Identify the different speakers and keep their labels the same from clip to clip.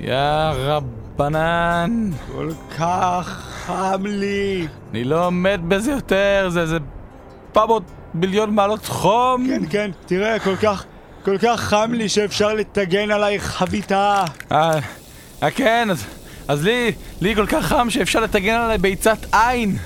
Speaker 1: יא רבנן,
Speaker 2: כל כך חם לי.
Speaker 1: אני לא עומד בזה יותר, זה זה 400 מיליון מעלות חום.
Speaker 2: כן, כן, תראה, כל כך, כל כך חם לי שאפשר לטגן עלייך חביתה.
Speaker 1: אה, אה, כן, אז- אז לי, לי כל כך חם שאפשר לטגן עליי ביצת עין.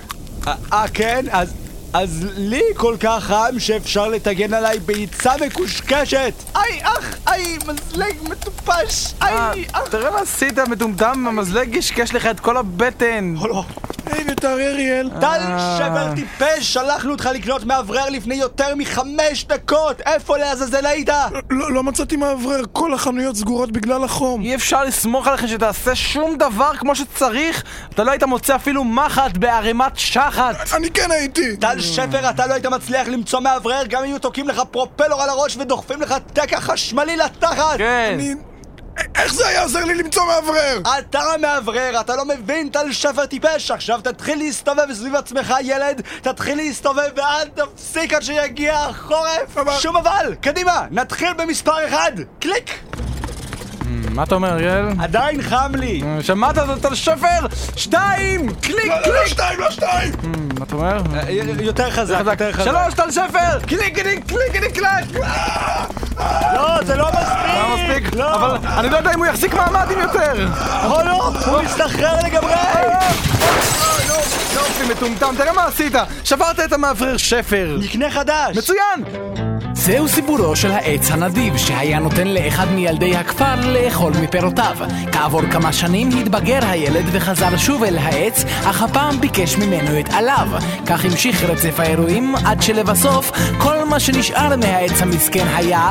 Speaker 2: אה, אה, כן? אז... אז לי כל כך חם שאפשר לטגן עליי ביצה מקושקשת! איי, אח, איי, מזלג מטופש!
Speaker 1: אה,
Speaker 2: איי, אח!
Speaker 1: תראה מה עשית, מטומטם, המזלג קשקש לך את כל הבטן.
Speaker 2: לא, אה. לא.
Speaker 3: היי, יותר אריאל.
Speaker 2: טל שבר טיפש, שלחנו אותך לקנות מאוורר לפני יותר מחמש דקות! איפה לעזאזל היית?
Speaker 3: לא לא מצאתי מאוורר, כל החנויות סגורות בגלל החום.
Speaker 1: אי אפשר לסמוך עליך שתעשה שום דבר כמו שצריך. אתה לא היית מוצא אפילו מחט בערימת שחת.
Speaker 3: אני כן הייתי!
Speaker 2: טל שפר, אתה לא היית מצליח למצוא מאוורר גם אם היו תוקעים לך פרופלור על הראש ודוחפים לך תקע חשמלי לתחת!
Speaker 1: כן.
Speaker 3: אני... איך זה היה עוזר לי למצוא מאוורר?
Speaker 2: אתה המאוורר, אתה לא מבין, טל שפר טיפש! עכשיו תתחיל להסתובב סביב עצמך, ילד! תתחיל להסתובב ואל תפסיק עד שיגיע החורף!
Speaker 3: אבל-
Speaker 2: שום אבל! קדימה! נתחיל במספר אחד! קליק!
Speaker 1: מה אתה אומר, אריאל?
Speaker 2: עדיין חם לי!
Speaker 1: שמעת זאת על שפר? שתיים! קליק!
Speaker 3: לא, לא שתיים, לא שתיים!
Speaker 1: מה אתה אומר?
Speaker 2: אה, יותר חזק, יותר חזק.
Speaker 1: שלוש, טל שפר! קליק, קליק, קליק, קליק, קליק!
Speaker 2: לא, זה לא מספיק!
Speaker 1: לא מספיק,
Speaker 2: לא!
Speaker 1: אבל אני לא יודע אם הוא יחזיק מעמד אם יותר!
Speaker 2: או לא! הוא מסתחרר לגמרי!
Speaker 1: יופי, מטומטם, תראה מה עשית! שברת את המאוורר שפר!
Speaker 2: נקנה חדש!
Speaker 1: מצוין!
Speaker 4: זהו סיפורו של העץ הנדיב שהיה נותן לאחד מילדי הכפר לאכול מפירותיו. כעבור כמה שנים התבגר הילד וחזר שוב אל העץ, אך הפעם ביקש ממנו את עליו. כך המשיך רצף האירועים עד שלבסוף כל מה שנשאר מהעץ המסכן היה...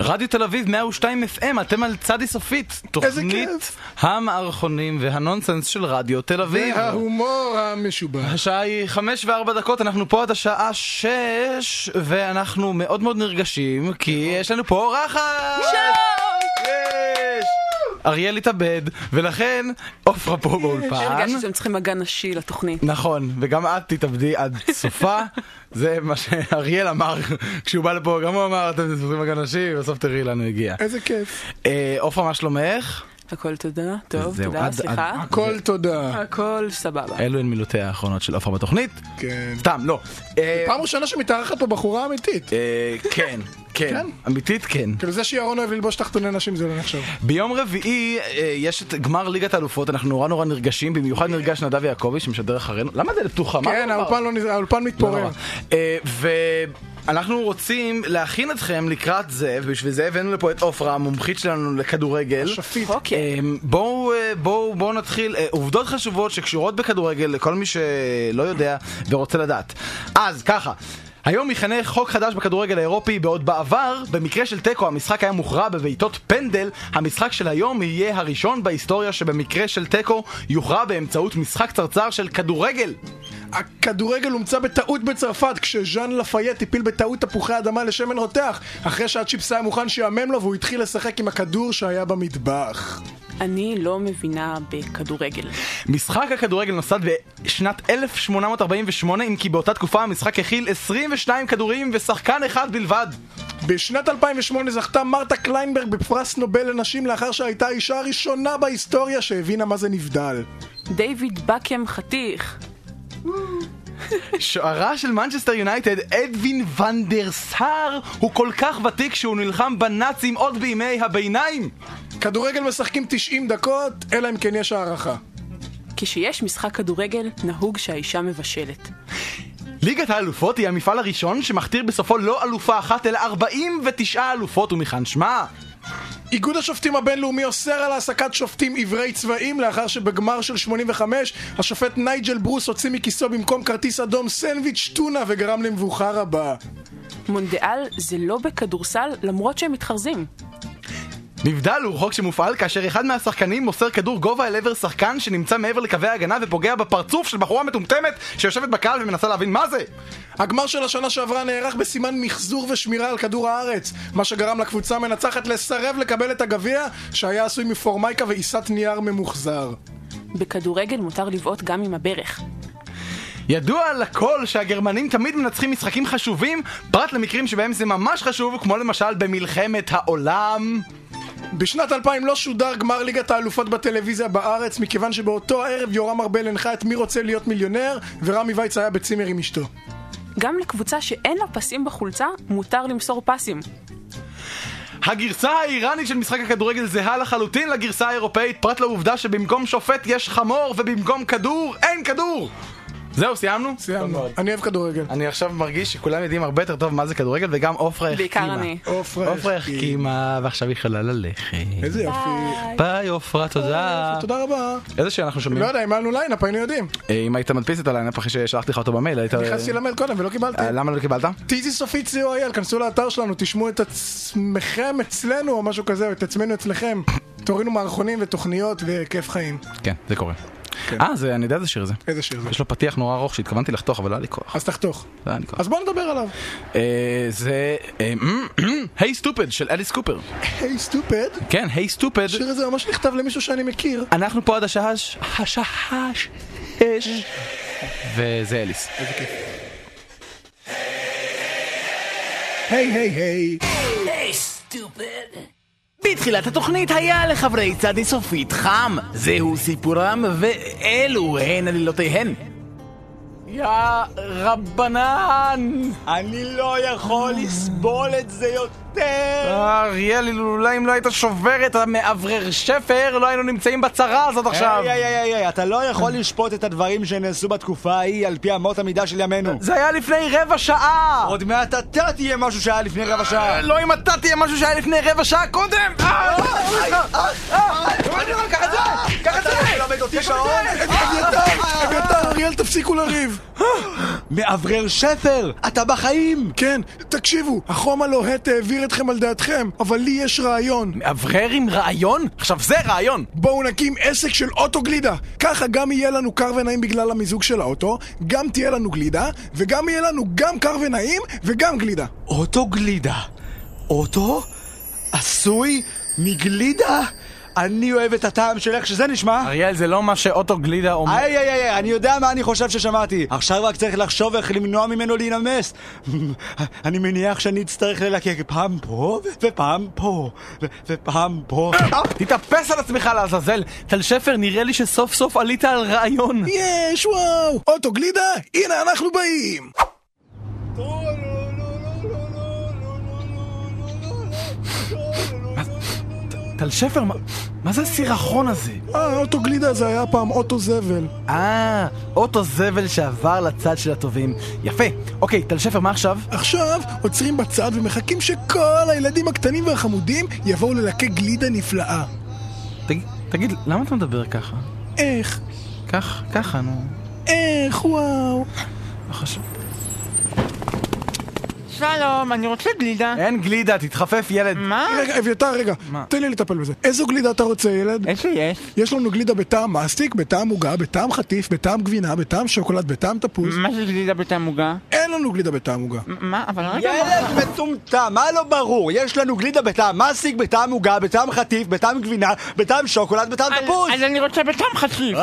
Speaker 1: רדיו תל אביב 102 FM, אתם על צדי סופית. תוכנית
Speaker 3: כיף.
Speaker 1: המערכונים והנונסנס של רדיו תל אביב.
Speaker 3: ההומור המשובש.
Speaker 1: השעה היא חמש וארבע דקות, אנחנו פה עד השעה שש, ואנחנו מאוד מאוד נרגשים, כי יש לנו פה אורחת! יש! אריאל התאבד, ולכן עופרה פה באולפן.
Speaker 5: הרגשתי שאתם צריכים מגע נשי לתוכנית.
Speaker 1: נכון, וגם את תתאבדי עד סופה, זה מה שאריאל אמר כשהוא בא לפה, גם הוא אמר, אתם זוכרים מגן נשי, בסוף תראי לאן הוא הגיע.
Speaker 3: איזה כיף.
Speaker 1: אה, עופרה, מה שלומך?
Speaker 5: הכל תודה, טוב,
Speaker 1: זהו, עד-
Speaker 5: תודה, סליחה.
Speaker 1: עד-
Speaker 3: הכל תודה.
Speaker 5: הכל סבבה.
Speaker 1: אלו הן מילותיה האחרונות של עופרה בתוכנית.
Speaker 3: כן.
Speaker 1: סתם, לא. אה,
Speaker 3: פעם ראשונה שמתארחת פה בחורה אמיתית.
Speaker 1: אה, כן, כן.
Speaker 3: כן?
Speaker 1: אמיתית כן.
Speaker 3: כאילו זה שירון אוהב ללבוש תחתוני נשים זה לא נחשב.
Speaker 1: ביום רביעי אה, יש את גמר ליגת האלופות, אנחנו נורא נורא נרגשים, במיוחד נרגש נדב יעקבי שמשדר אחרינו. למה הדלת פתוחה? מה
Speaker 3: כן,
Speaker 1: הדבר?
Speaker 3: האולפן לא נז- האולפן מתפורר.
Speaker 1: אה, ואנחנו רוצים להכין אתכם לקראת זה, ובשביל זה הבאנו לפה את עופרה, המומחית שלנו לכדורגל.
Speaker 3: שפיט.
Speaker 5: אוקיי.
Speaker 1: אה, בואו אה, בואו בואו נתחיל אה, עובדות חשובות שקשורות בכדורגל לכל מי שלא יודע ורוצה לדעת. אז ככה. היום יכנה חוק חדש בכדורגל האירופי, בעוד בעבר, במקרה של תיקו המשחק היה מוכרע בבעיטות פנדל, המשחק של היום יהיה הראשון בהיסטוריה שבמקרה של תיקו יוכרע באמצעות משחק קצרצר של כדורגל.
Speaker 3: הכדורגל הומצא בטעות בצרפת כשז'אן לפייט הפיל בטעות תפוחי אדמה לשמן רותח אחרי שהצ'יפס היה מוכן שיאמם לו והוא התחיל לשחק עם הכדור שהיה במטבח.
Speaker 5: אני לא מבינה בכדורגל.
Speaker 1: משחק הכדורגל נוסד בשנת 1848, אם כי באותה תקופה המשחק הכיל 22 כדורים ושחקן אחד בלבד.
Speaker 3: בשנת 2008 זכתה מרתה קליינברג בפרס נובל לנשים לאחר שהייתה האישה הראשונה בהיסטוריה שהבינה מה זה נבדל.
Speaker 5: דיוויד בקם חתיך.
Speaker 1: שוערה של מנצ'סטר יונייטד, אדווין ונדר סאר, הוא כל כך ותיק שהוא נלחם בנאצים עוד בימי הביניים.
Speaker 3: כדורגל משחקים 90 דקות, אלא אם כן יש הערכה.
Speaker 5: כשיש משחק כדורגל, נהוג שהאישה מבשלת.
Speaker 1: ליגת האלופות היא המפעל הראשון שמכתיר בסופו לא אלופה אחת, אלא 49 אלופות ומכאן שמה.
Speaker 3: איגוד השופטים הבינלאומי אוסר על העסקת שופטים עיוורי צבעים לאחר שבגמר של 85 השופט נייג'ל ברוס הוציא מכיסו במקום כרטיס אדום סנדוויץ' טונה וגרם למבוכה רבה.
Speaker 5: מונדיאל זה לא בכדורסל, למרות שהם מתחרזים.
Speaker 1: נבדל הוא חוק שמופעל כאשר אחד מהשחקנים מוסר כדור גובה אל עבר שחקן שנמצא מעבר לקווי ההגנה ופוגע בפרצוף של בחורה מטומטמת שיושבת בקהל ומנסה להבין מה זה!
Speaker 3: הגמר של השנה שעברה נערך בסימן מחזור ושמירה על כדור הארץ, מה שגרם לקבוצה המנצחת לסרב לקבל את הגביע, שהיה עשוי מפורמייקה ועיסת נייר ממוחזר.
Speaker 5: בכדורגל מותר לבעוט גם עם הברך.
Speaker 1: ידוע לכל שהגרמנים תמיד מנצחים משחקים חשובים, פרט למקרים שבהם זה ממש חשוב, כמו למשל במלחמת העולם.
Speaker 3: בשנת 2000 לא שודר גמר ליגת האלופות בטלוויזיה בארץ, מכיוון שבאותו הערב יורם ארבל הנחה את מי רוצה להיות מיליונר, ורמי וייץ היה בצימר עם אשתו.
Speaker 5: גם לקבוצה שאין לה פסים בחולצה, מותר למסור פסים.
Speaker 1: הגרסה האיראנית של משחק הכדורגל זהה לחלוטין לגרסה האירופאית, פרט לעובדה שבמקום שופט יש חמור ובמקום כדור אין כדור! זהו, סיימנו?
Speaker 3: סיימנו. אני אוהב כדורגל.
Speaker 1: אני עכשיו מרגיש שכולם יודעים הרבה יותר טוב מה זה כדורגל, וגם עופרה
Speaker 5: בעיקר
Speaker 1: החכימה.
Speaker 5: אני.
Speaker 3: עופרה
Speaker 1: עופרה החכימה, ועכשיו היא יכולה ללכת.
Speaker 3: איזה יופי.
Speaker 1: ביי עופרה, תודה.
Speaker 3: תודה רבה.
Speaker 1: איזה שיר אנחנו שומעים?
Speaker 3: לא יודע, אם היה לנו ליינאפ היינו יודעים.
Speaker 1: אה, אם היית מדפיס את הליינאפ אחרי ששלחתי לך אותו במייל, היית...
Speaker 3: נכנסתי למייל קודם ולא קיבלתי.
Speaker 1: אה, למה לא קיבלת?
Speaker 3: טיזי סופית co.il, כנסו לאתר שלנו, תשמעו את עצמכם אצלנו או משהו כזה, או את עצמנו אצלכם. תורידו מערכונים ותוכניות וכיף חיים.
Speaker 1: כן, זה קורה. אה, זה- אני יודע איזה שיר זה.
Speaker 3: איזה שיר זה.
Speaker 1: יש לו פתיח נורא ארוך שהתכוונתי לחתוך, אבל לא היה לי כוח.
Speaker 3: אז תחתוך.
Speaker 1: לא היה לי כוח.
Speaker 3: אז בואו נדבר עליו.
Speaker 1: אה, זה... היי סטופד של אליס קופר.
Speaker 3: היי סטופד.
Speaker 1: כן, היי סטופד.
Speaker 3: השיר הזה ממש נכתב למישהו שאני מכיר.
Speaker 1: אנחנו פה עד השעה... הש- השעה... הש- הש- וזה אליס.
Speaker 3: היי היי היי.
Speaker 4: בתחילת התוכנית היה לחברי צדי סופית חם. זהו סיפורם ואלו הן עלילותיהן. יא רבנן!
Speaker 2: אני לא יכול לסבול את זה יותר!
Speaker 1: אריאל, אולי אם לא היית שובר את המאוורר שפר, לא היינו נמצאים בצרה הזאת עכשיו.
Speaker 2: היי, היי, היי, היי, אתה לא יכול לשפוט את הדברים שנעשו בתקופה ההיא על פי אמות המידה של ימינו.
Speaker 1: זה היה לפני רבע שעה!
Speaker 2: עוד מעט אתה תהיה משהו שהיה לפני רבע
Speaker 3: אה,
Speaker 2: שעה.
Speaker 1: לא אם אתה תהיה משהו שהיה לפני רבע שעה קודם! אה, סליחה. אה, קח את זה! קח את זה!
Speaker 3: אביתר, אריאל, תפסיקו לריב.
Speaker 2: מאוורר שפר, אתה בחיים!
Speaker 3: כן, תקשיבו, החום הלוהט העביר אתכם על דעתכם, אבל לי יש רעיון.
Speaker 1: מאוורר עם רעיון? עכשיו זה רעיון!
Speaker 3: בואו נקים עסק של אוטוגלידה. ככה גם יהיה לנו קר ונעים בגלל המיזוג של האוטו, גם תהיה לנו גלידה, וגם יהיה לנו גם קר ונעים וגם גלידה.
Speaker 2: אוטו גלידה. אוטו? עשוי? מגלידה? אני אוהב את הטעם של איך שזה נשמע.
Speaker 1: אריאל, זה לא מה שאוטו גלידה אומר.
Speaker 2: איי איי איי, אני יודע מה אני חושב ששמעתי. עכשיו רק צריך לחשוב איך למנוע ממנו להינמס. אני מניח שאני אצטרך ללקק פעם פה, ופעם פה, ו- ופעם פה.
Speaker 1: תתאפס על עצמך לעזאזל! טל שפר, נראה לי שסוף סוף עלית על רעיון.
Speaker 3: יש, וואו! אוטוגלידה, הנה אנחנו באים!
Speaker 1: טל שפר, מה- מה זה הסירחון הזה?
Speaker 3: אה, אוטוגלידה זה היה פעם אוטו זבל.
Speaker 1: אה, אוטו זבל שעבר לצד של הטובים. יפה. אוקיי, טל שפר, מה עכשיו?
Speaker 3: עכשיו עוצרים בצד ומחכים שכל הילדים הקטנים והחמודים יבואו ללקק גלידה נפלאה.
Speaker 1: תגיד- תגיד, למה אתה מדבר ככה?
Speaker 3: איך?
Speaker 1: כך, ככה, נו.
Speaker 3: איך, וואו!
Speaker 1: לא חשוב.
Speaker 6: שלום, אני רוצה גלידה.
Speaker 1: אין גלידה, תתחפף ילד.
Speaker 3: אה.
Speaker 6: מה?
Speaker 3: רגע, אביתר, רגע,
Speaker 1: מה?
Speaker 3: תן לי לטפל בזה. איזו גלידה אתה רוצה,
Speaker 7: אה?
Speaker 3: ילד?
Speaker 6: איזה יש?
Speaker 3: יש לנו גלידה בטעם מסטיק, בטעם עוגה, בטעם חטיף, בטעם גבינה, בטעם שוקולד, בטעם תפוז.
Speaker 6: מה זה גלידה בתעמוגה?
Speaker 3: אין לנו גלידה בטעם עוגה.
Speaker 6: מה? אבל רגע.
Speaker 2: ילד מטומטם, מה לא ברור? יש לנו גלידה בטעם מסיק, בטעם עוגה, בטעם חטיף, בטעם גבינה, בטעם שוקולד, בטעם
Speaker 6: אז-
Speaker 2: תפוז!
Speaker 6: אז אני רוצה בטעם חטיף.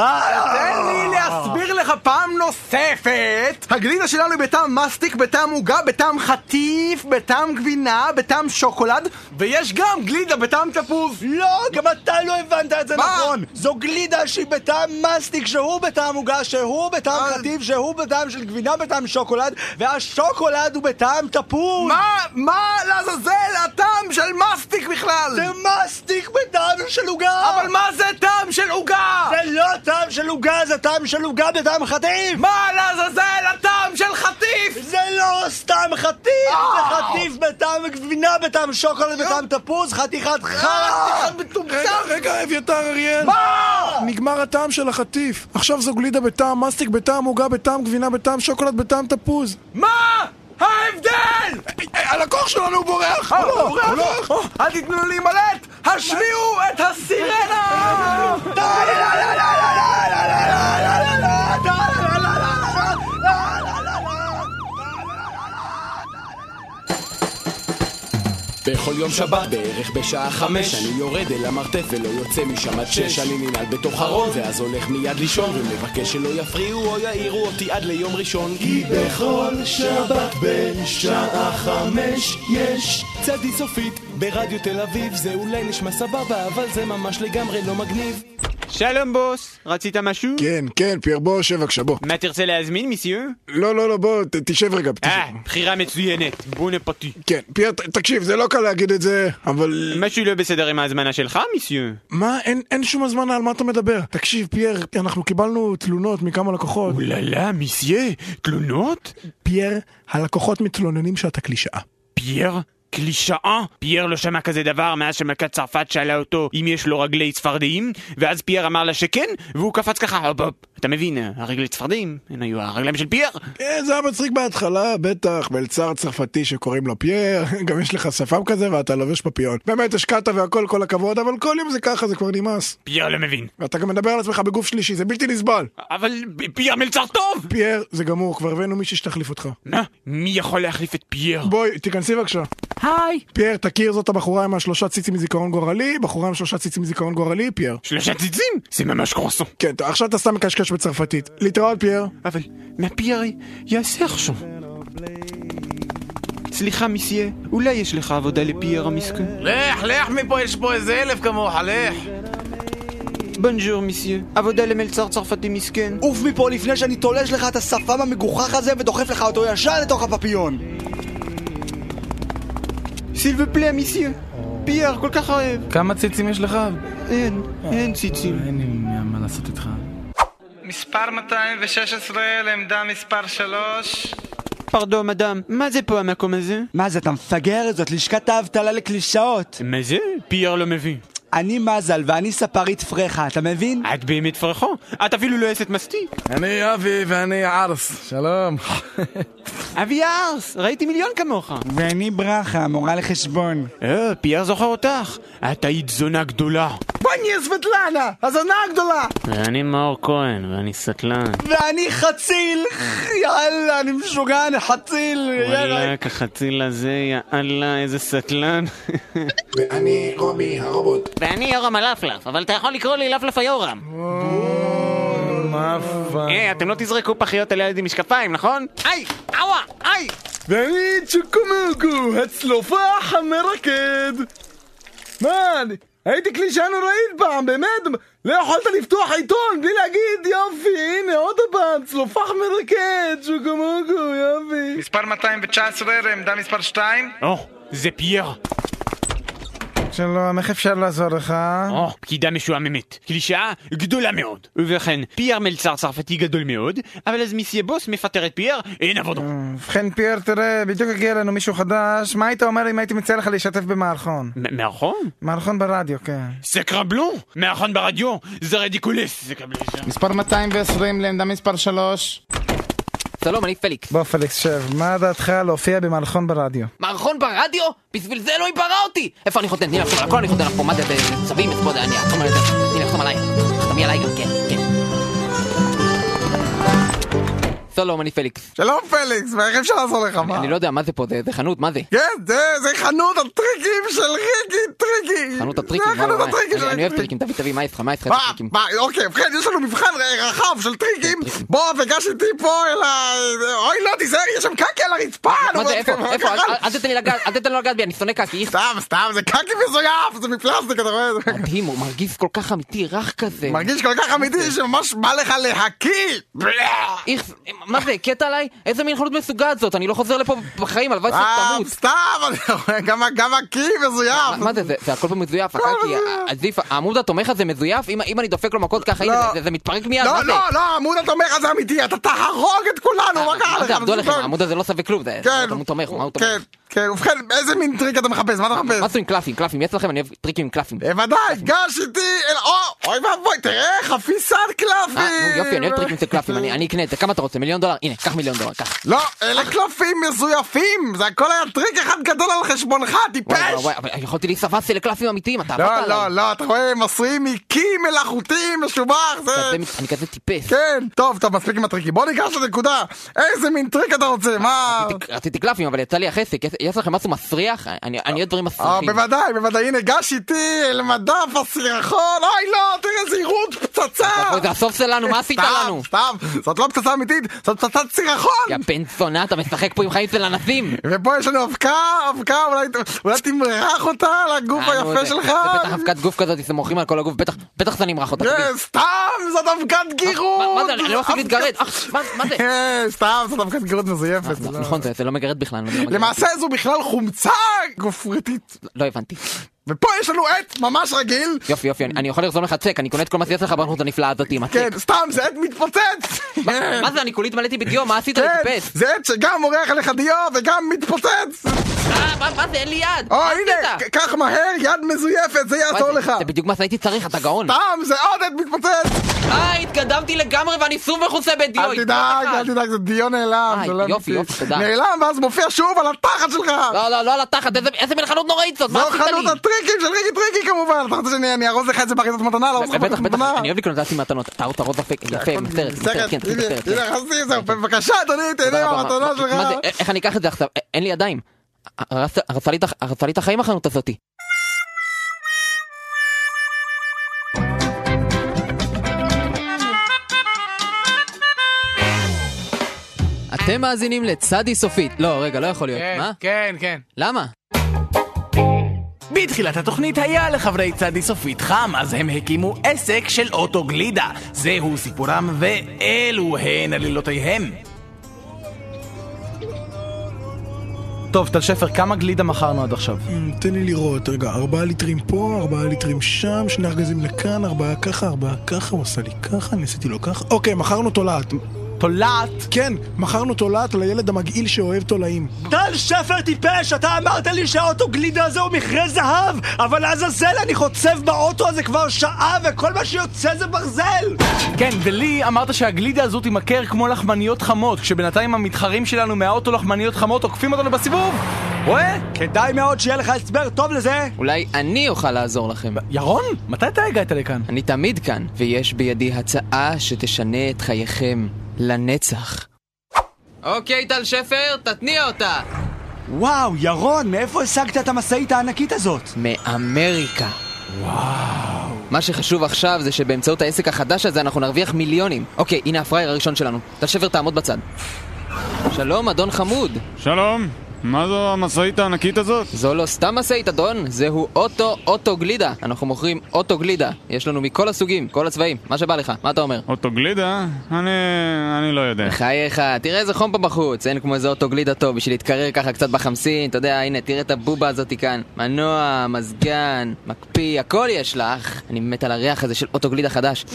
Speaker 1: תן לי להסביר לך פעם נוספת! הגלידה שלנו היא בטעם מסטיק, בטעם עוגה, בטעם חטיף, בטעם גבינה, בטעם שוקולד, ויש גם גלידה בטעם תפוז!
Speaker 2: לא, גם אתה לא הבנת את זה
Speaker 1: מה?
Speaker 2: נכון. זו גלידה שהיא בטעם מסטיק, שהוא בטעם עוגה, שהוא בטעם
Speaker 1: אה.
Speaker 2: חטיף, שהוא בטעם של גבינה, בטעם שוקולד, והשוקולד הוא בטעם תפוז.
Speaker 1: מה, אה, מה לעזאזל הטעם של מסטיק בכלל?
Speaker 2: זה מסטיק בטעם של עוגה!
Speaker 1: אבל מה זה טעם של עוגה?
Speaker 2: זה לא טעם של עוגה, זה טעם של עוגה בטעם חטיף!
Speaker 1: מה לעזאזל הטעם של חטיף? אה!
Speaker 2: זה לא סתם חטיף! זה חטיף בטעם גבינה, בטעם שוקולד, בטעם תפוז, חתיכת
Speaker 1: אה!
Speaker 2: חרא!
Speaker 3: רגע, אה, רגע, אביתר אריאל! נגמר הטעם של החטיף. עכשיו זו גלידה בטעם מסטיק, בטעם עוגה, בטעם גבינה, בטעם שוקולד, בטעם תפוז.
Speaker 1: מה? היי
Speaker 8: ההבדל?
Speaker 3: הלקוח שלנו הוא בורח!
Speaker 1: אה,
Speaker 3: הוא לא, הוא לא.
Speaker 8: אל תיתנו לו להימלט! השמיעו את הסירנה! די, לא, לא, לא, לא, לא, לא, לא, לא, לא, לא, די, לא, לא, לא, לא, לא, לא, לא, לא.
Speaker 4: בכל יום שבת בערך בשעה חמש אני יורד אל המרתף ולא יוצא משם עד שש אני ננעל בתוך ארון ואז הולך מיד לישון ומבקש שלא יפריעו או יעירו אותי עד ליום ראשון כי בכל שבת בשעה חמש יש צדי סופית ברדיו תל אביב זה אולי נשמע סבבה אבל זה ממש לגמרי לא מגניב
Speaker 9: שלום בוס, רצית משהו?
Speaker 3: כן, כן, פייר, בוא, יושב בבקשה, בוא.
Speaker 9: מה תרצה להזמין, מיסיו?
Speaker 3: לא, לא, לא, בוא, ת- תשב רגע. תשב.
Speaker 9: אה, בחירה מצוינת, בונה פרטי.
Speaker 3: כן, פייר, ת- תקשיב, זה לא קל להגיד את זה, אבל...
Speaker 9: משהו לא בסדר עם ההזמנה שלך, מיסיו?
Speaker 3: מה? אין, אין שום הזמנה על מה אתה מדבר. תקשיב, פייר, אנחנו קיבלנו תלונות מכמה לקוחות.
Speaker 9: אוללה, מיסייה, תלונות?
Speaker 3: פייר, הלקוחות מתלוננים שאתה קלישאה.
Speaker 9: פייר? קלישאה? פייר לא שמע כזה דבר מאז שמלכת צרפת שאלה אותו אם יש לו רגלי צפרדעים ואז פייר אמר לה שכן והוא קפץ ככה הופ הופ אתה מבין, הרגלי צפרדעים הן היו הרגליים של פייר
Speaker 3: כן, זה היה מצחיק בהתחלה, בטח, מלצר צרפתי שקוראים לו פייר, גם יש לך שפם כזה ואתה לובש פפיון. באמת, השקעת והכל, כל הכבוד, אבל כל יום זה ככה, זה כבר נמאס.
Speaker 9: פייר לא מבין
Speaker 3: ואתה גם מדבר על עצמך בגוף שלישי, זה בלתי נסבל.
Speaker 9: אבל פייר מלצר טוב!
Speaker 3: פייר, זה גמור, כבר הבאנו מישהי שתחליף אותך.
Speaker 9: מה? מי יכול להחליף את פייר?
Speaker 3: בואי, תיכנסי בבקשה.
Speaker 7: היי!
Speaker 3: פייר, תכיר, זאת הבחורה עם השלושה ציצים מזיכרון גורלי, בחורה עם שלושה ציצים מזיכרון גורלי, פייר.
Speaker 9: שלושה ציצים? זה ממש קרוסון
Speaker 3: כן, טוב, עכשיו אתה סתם מקשקש בצרפתית. להתראות, פייר.
Speaker 9: אבל מה פייר יעשה עכשיו? סליחה, מיסייה, אולי יש לך עבודה לפייר המסכן?
Speaker 8: לך, לך מפה, יש פה איזה אלף כמוך, לך.
Speaker 9: בונג'ור, מיסייה, עבודה למלצר צרפתי מסכן.
Speaker 2: עוף מפה לפני שאני תולש לך את השפם המגוחך הזה ודוחף לך אותו ישר לתוך הפפיון.
Speaker 9: סילבה פלה, מיסייה. פייר כל כך אוהב.
Speaker 10: כמה ציצים יש לך?
Speaker 9: אין, אין ציצים.
Speaker 10: אין לי מה לעשות איתך.
Speaker 1: מספר 216 לעמדה מספר 3
Speaker 9: פרדו, מדאם, מה זה פה המקום הזה?
Speaker 2: מה זה, אתה מפגר? זאת לשכת האבטלה לקלישאות.
Speaker 9: מה זה? פייר לא מבין.
Speaker 2: אני מזל ואני ספרית פרחה, אתה מבין?
Speaker 9: את באמת פרחה? את אפילו לא אסת מסטיק.
Speaker 8: אני אבי ואני ערס.
Speaker 10: שלום.
Speaker 9: אבי ארס, ראיתי מיליון כמוך.
Speaker 2: ואני ברכה, מורה לחשבון.
Speaker 9: אה, פייר זוכר אותך. את היית זונה גדולה.
Speaker 8: בואי
Speaker 2: אה,
Speaker 8: סבטלנה, הזונה הגדולה.
Speaker 9: ואני מאור כהן, ואני סטלן.
Speaker 2: ואני חציל! יאללה, אני משוגע, אני חציל! יאללה.
Speaker 9: וואלכ, החציל הזה, יא אללה, איזה סטלן.
Speaker 3: ואני רומי הרובוט.
Speaker 7: ואני יורם הלפלף, אבל אתה יכול לקרוא לי לפלף היורם. אה,
Speaker 9: היי, אתם לא תזרקו פחיות על ילד עם משקפיים, נכון?
Speaker 7: היי! אאווה! היי!
Speaker 8: ואני צ'וקומוקו, הצלופח המרקד. מה, אני- הייתי קלישה נוראית פעם, באמת, לא יכולת לפתוח עיתון בלי להגיד יופי, הנה עוד פעם, צלופח מרקד, צ'וקומוקו, יופי.
Speaker 1: מספר 219 לעמדה מספר 2
Speaker 9: או, זה פייר.
Speaker 8: שלום, איך אפשר לעזור לך?
Speaker 9: או, פקידה משועממת. קלישאה גדולה מאוד. ובכן, פייר מלצר צרפתי גדול מאוד, אבל אז מיסיה בוס מפטר את פייר, אין עבודו.
Speaker 8: ובכן פייר, תראה, בדיוק הגיע אלינו מישהו חדש, מה היית אומר אם הייתי מציע לך להשתתף במערכון?
Speaker 9: מ- מערכון?
Speaker 8: מערכון ברדיו, כן.
Speaker 9: סקרבלו? מערכון ברדיו? זה רדיקולס. סקרבלו.
Speaker 1: מספר 220 לעמדה מספר 3
Speaker 7: שלום, אני פליקס.
Speaker 8: בוא פליקס, שב, מה דעתך להופיע במערכון ברדיו?
Speaker 7: מערכון ברדיו? בשביל זה אלוהים ברא אותי! איפה אני חותם? תני לחתום על הכל, אני חותם לך פה, מה זה, זה- צווים, את פה, זה, אני אחתום על זה, תני לחתום עליי, תחתמי עליי גם, כן, כן. שלום, אני פליקס.
Speaker 8: שלום פליקס, ואיך אפשר לעזור לך, מה?
Speaker 7: אני לא יודע מה זה פה, זה זה חנות, מה זה?
Speaker 8: כן, זה, זה חנות הטריקים של ריקי, טריקי.
Speaker 7: חנות הטריקים,
Speaker 8: זה חנות
Speaker 7: וואי,
Speaker 8: הטריקים
Speaker 7: וואי.
Speaker 8: של
Speaker 7: אני- אני אוהב
Speaker 8: ריקי.
Speaker 7: טריקים, תביא, תביא, מה איתך, מה איתך,
Speaker 8: מה,
Speaker 7: טריקים? כן,
Speaker 8: מה, אוקיי, ובכן, יש לנו מבחן רחב של טריקים. בוא, וגש איתי פה אל ה... אוי, לא, תיזהר, יש שם קקי על הרצפה.
Speaker 7: מה
Speaker 8: נו,
Speaker 7: זה,
Speaker 8: מה-
Speaker 7: איפה,
Speaker 8: לא מה
Speaker 7: איפה,
Speaker 8: קרה?
Speaker 7: אל- אל- אל תתן לי לגעת, אל תתן לו לגעת בי, אני שונא קקי, איך
Speaker 8: סתם, סתם, זה קקי מזויף, זה מפלסטיק, אתה רואה? זה-
Speaker 7: מדהים, הוא מרגיש כל כך אמיתי, רך כזה.
Speaker 8: מרגיש כל כך
Speaker 7: אוקיי.
Speaker 8: אמיתי שממש בא לך להקיא. בלה.
Speaker 7: איך, מה זה, קטע עליי? איזה מין חנות משוגעת זאת? אני לא חוזר לפה בחיים, הלוואי
Speaker 8: סתם,
Speaker 7: שתמות.
Speaker 8: אה, סתם, אתה רואה, גם ה- גם הקיא
Speaker 7: מה-
Speaker 8: מזויף.
Speaker 7: מה זה, זה- זה הכל פה
Speaker 8: לא,
Speaker 7: מזויף, הקקי, ה- הזיף, העמוד התומך הזה מזויף? אם- אם אני דופק לו מכות ככה, הנה,
Speaker 8: לא.
Speaker 7: זה- זה מתפרק מיד, מה
Speaker 8: לא,
Speaker 7: זה? אה,
Speaker 8: לא, לא, העמוד התומך הזה אמיתי, אתה תהרוג את כולנו, מה קרה
Speaker 7: מה
Speaker 8: לך?
Speaker 7: זה, עבדו
Speaker 8: זה
Speaker 7: עליכם,
Speaker 8: לא-
Speaker 7: העמוד הזה לא שווה כלום, זה
Speaker 8: כן.
Speaker 7: עמוד תומך, מה הוא תומך?
Speaker 8: כן, כן, ובכן, איזה מין טריק אתה מחפש? מה אתה מחפש?
Speaker 6: מה זה עם קלפים? קלפים, יש לכם? אני אוהב טריקים עם קלפים.
Speaker 8: בוודאי, גש איתי אל... או, אוי ואבוי, תראה, חפיסת
Speaker 6: אה, נו,
Speaker 8: קלפים!
Speaker 6: יופי, אני אוהב טריקים של קלפים, אני אני אקנה את זה. כמה אתה רוצה? מיליון דולר? הנה, קח מיליון דולר, קח.
Speaker 8: לא, אלה קלפים מזויפים! זה הכל היה טריק אחד גדול על חשבונך, טיפש!
Speaker 6: וואי, וואי, וואי, אבל יכולתי להיספס לקלפים אמיתיים, אתה עבדת
Speaker 8: לא,
Speaker 6: עליי.
Speaker 8: לא, לא, אתה רואה, מסרים מקי מלאכותי משובח, זה...
Speaker 6: אני כזה טיפש.
Speaker 8: כן, טוב, טוב, מספיק עם הטריקים. בוא ניגש לנקודה. איזה מין טריק אתה רוצה, מה...
Speaker 6: רציתי קלפים, אבל יצא לי החסק. יש- יש לכם משהו מסריח? אני אני אוהב דברים
Speaker 8: אה,
Speaker 6: מסריחים.
Speaker 8: בוודאי, בוודאי, הנה, גש איתי אל מדף הסירחון, אוי לא, תראה איזה עירות פצצה!
Speaker 6: זה הסוף שלנו, מה עשית
Speaker 8: סתם,
Speaker 6: לנו?
Speaker 8: סתם, זאת לא פצצה אמיתית, זאת פצצת סירחון!
Speaker 6: יא בן זונה, אתה משחק פה עם חיים של אנסים!
Speaker 8: ופה יש לנו אבקה, אבקה, אולי- אולי תמרח אותה על הגוף
Speaker 6: אה, נו,
Speaker 8: היפה
Speaker 6: זה-
Speaker 8: שלך? אה,
Speaker 6: זה בטח אבקת גוף כזאת, זה מוחים על כל הגוף, בטח- בטח זה נמרח אותה.
Speaker 8: כן, סתם, זאת אבקת גירות!
Speaker 6: אה, מה- מה זה, אני לא מפסיק להתגרד, אח, מה- מה זה?
Speaker 8: כן, סתם, זאת אבקת גירות מזויפת.
Speaker 6: תגידי.
Speaker 8: לא.
Speaker 6: נכון, זה- זה לא מגרד בכלל. זה לא מגרד.
Speaker 8: למעשה זו בכלל חומצה גופריתית.
Speaker 6: לא הבנתי.
Speaker 8: ופה יש לנו עט ממש רגיל.
Speaker 6: יופי, יופי, אני- אני יכול לרזום לך צ'ק, אני קונה את כל מה שיש לך ברנות הנפלאה הזאת עם הצ'ק.
Speaker 8: כן, סתם, זה עט מתפוצץ!
Speaker 6: מה- מה זה, אני כולי התמלאתי בדיו, מה עשית?
Speaker 8: כן,
Speaker 6: טיפש.
Speaker 8: זה עט שגם מורח עליך דיו וגם מתפוצץ!
Speaker 6: אה, מה- מה זה, אין לי יד!
Speaker 8: או,
Speaker 6: מה
Speaker 8: הנה,
Speaker 6: עשית?
Speaker 8: ק- קח מהר, יד מזויפת, זה
Speaker 6: מה
Speaker 8: יעזור
Speaker 6: זה?
Speaker 8: לך.
Speaker 6: זה בדיוק מה שהייתי צריך, אתה גאון.
Speaker 8: סתם, זה עוד עט מתפוצץ!
Speaker 6: אה, התקדמתי לגמרי ואני שוב מכוסה בדיו.
Speaker 8: אל תדאג,
Speaker 6: התקדמתי.
Speaker 8: אל תדאג, זה דיו נעלם.
Speaker 6: אה,
Speaker 8: זה לא
Speaker 6: יופי,
Speaker 8: אמיתי.
Speaker 6: יופי, תודה.
Speaker 8: נעלם, ואז מופיע שוב על התחת שלך!
Speaker 6: לא, לא, לא על התחת, איזה- איזה מין חנות נוראית זאת, מה
Speaker 8: זו
Speaker 6: עשית לי?
Speaker 8: לא חנות הטריקים של ריקי טריקי כמובן! אתה רוצה שאני אני ארוז לך את זה באריזת מתנה?
Speaker 11: אה,
Speaker 8: לארוז לך
Speaker 6: בטח,
Speaker 8: באריזת
Speaker 6: בטח,
Speaker 8: מתנה?
Speaker 6: אני אוהב לקנות דעתי מתנות, טעות הרוב יפה, יפה, מוסתרת, מוסתרת, כן, כן,
Speaker 8: הנה,
Speaker 6: מוסתרת, כן.
Speaker 8: הנה, חסי, זהו, בבקשה, אדוני,
Speaker 6: תודה
Speaker 8: תהנה
Speaker 6: רבה.
Speaker 8: מהמתנה
Speaker 6: מה-
Speaker 8: שלך.
Speaker 6: מה זה, א- איך אני אקח את זה עכשיו? א- אין לי ידיים. הרס- הרסה לי את הח- הרסה לי את החיים החנות הזאתי.
Speaker 7: אתם מאזינים לצדי סופית. לא, רגע, לא יכול להיות.
Speaker 11: כן,
Speaker 7: מה?
Speaker 11: כן, כן.
Speaker 7: למה?
Speaker 11: בתחילת התוכנית היה לחברי צדי סופית חם, אז הם הקימו עסק של אוטוגלידה. זהו סיפורם, ואלו הן עלילותיהם.
Speaker 1: טוב, טל שפר, כמה גלידה מכרנו עד עכשיו?
Speaker 3: אמ, תן לי לראות, רגע, ארבעה ליטרים פה, ארבעה ליטרים שם, שני ארגזים לכאן, ארבעה ככה, ארבעה ככה, הוא עשה לי ככה, אני עשיתי לו ככה. אוקיי, מכרנו תולעת.
Speaker 1: תולעת?
Speaker 3: כן, מכרנו תולעת לילד המגעיל שאוהב תולעים.
Speaker 2: טל שפר טיפש, אתה אמרת לי שהאוטוגלידה הזה הוא מכרה זהב, אבל לעזאזל אני חוצב באוטו הזה כבר שעה וכל מה שיוצא זה ברזל!
Speaker 1: כן, ולי אמרת שהגלידה הזו תימכר כמו לחמניות חמות, כשבינתיים המתחרים שלנו מהאוטו לחמניות חמות עוקפים אותנו בסיבוב! רואה?
Speaker 2: כדאי מאוד שיהיה לך הסבר טוב לזה!
Speaker 7: אולי אני אוכל לעזור לכם.
Speaker 1: ירון, מתי אתה הגעת לכאן?
Speaker 7: אני תמיד כאן, ויש בידי הצעה שתשנה את חייכם לנצח. אוקיי, טל שפר, תתניע אותה!
Speaker 2: וואו, ירון, מאיפה השגת את המשאית הענקית הזאת?
Speaker 7: מאמריקה. וואו. מה שחשוב עכשיו זה שבאמצעות העסק החדש הזה אנחנו נרוויח מיליונים. אוקיי, הנה הפראייר הראשון שלנו. טל שפר תעמוד בצד. שלום, אדון חמוד.
Speaker 12: שלום, מה זו המשאית הענקית הזאת?
Speaker 7: זו לא סתם משאית, אדון, זהו אוטו אוטו גלידה. אנחנו מוכרים אוטו גלידה. יש לנו מכל הסוגים, כל הצבעים, מה שבא לך, מה אתה אומר?
Speaker 12: אוטו גלידה? אני... אני לא יודע.
Speaker 7: בחייך, תראה איזה חום פה בחוץ, אין כמו איזה אוטו גלידה טוב בשביל להתקרר ככה קצת בחמסין, אתה יודע, הנה, תראה את הבובה הזאתי כאן. מנוע, מזגן, מקפיא, הכל יש לך. אני מת על הריח הזה של אוטו גלידה חדש.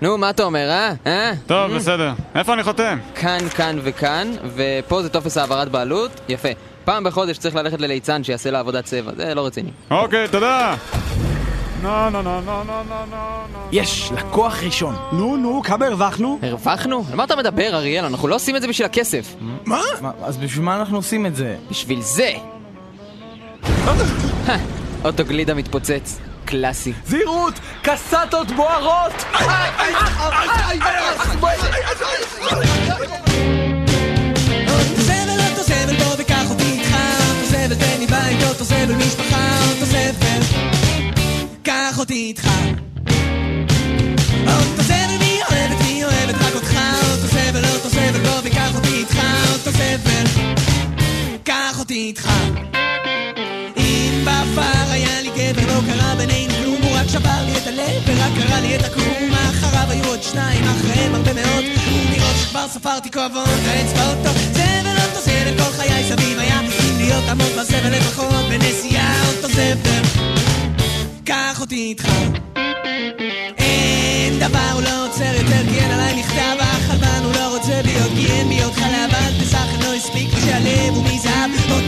Speaker 7: נו, מה אתה אומר, אה? אה?
Speaker 12: טוב, בסדר. איפה אני חותם?
Speaker 7: כאן, כאן וכאן, ופה זה טופס העברת בעלות, יפה. פעם בחודש צריך ללכת לליצן שיעשה לה עבודת צבע, זה לא רציני.
Speaker 12: אוקיי, תודה! נו, נו, נו, נו, נו, נו, נו.
Speaker 1: יש, לקוח ראשון.
Speaker 2: נו, נו, כמה הרווחנו?
Speaker 7: הרווחנו? על מה אתה מדבר, אריאל? אנחנו לא עושים את זה בשביל הכסף.
Speaker 1: מה? אז בשביל מה אנחנו עושים את זה?
Speaker 7: בשביל זה! אוטו גלידה מתפוצץ, קלאסי.
Speaker 1: זהירות! קסטות בוערות!
Speaker 13: אותו זבל, אותו זבל, בוא וקח אותי איתך. אותו זבל, תן לי בית, אותו זבל, משפחה, אותו זבל. קח אותי איתך. אותו זבל, מי אוהבת, מי אוהבת רק אותך. אותו זבל, אותו זבל, בוא לא, וקח אותי איתך. אותו זבל, קח אותי איתך. אם בעבר היה לי גבר, לא קרה בינינו כלום, הוא רק שבר לי את הלב ורק קרא לי את הכלום. אחריו היו עוד שניים, אחריהם הרבה מאוד, ומרוב שכבר ספרתי כואבות האצבעות. טוב, זבל אותו זבל, כל חיי סביב היה, אם להיות עמוק בזבל לפחות בנסיעה אותו זבל. קח אותי איתך. אין דבר הוא לא עוצר יותר כי אין עליי מכתב החלבן הוא לא רוצה בי עוד כי אין בי עוד חלב אל תסך לא הספיק לי שהלב הוא מזהב עוד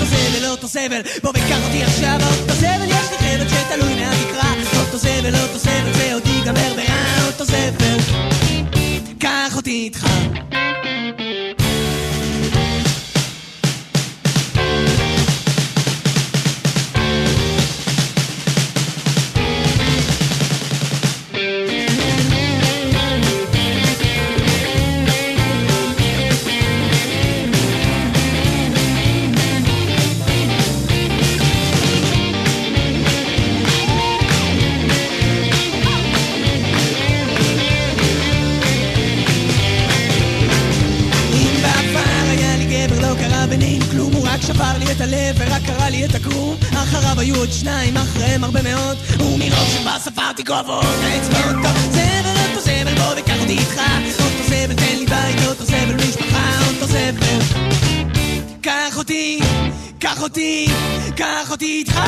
Speaker 13: סבל, בוא וקח אותי עכשיו, אותו סבל, יש לי חלק שתלוי מהתקרה, אותו סבל, אותו סבל, זה עוד ייגמר ברע, אותו סבל, קח אותי איתך. אם בעבר היה לי גבר לא קרה בינינו כלום הוא רק שבר לי את הלב ורק קרע לי את הכרום אחריו היו עוד שניים אחריהם הרבה מאוד ומרוב שכבר ספרתי כובעות האצבעות טוב זבל אותו זבל בוא וקח אותי איתך אותו זבל תן לי בית אותו זבל משפחה אותו זבל קח אותי קח אותי קח אותי איתך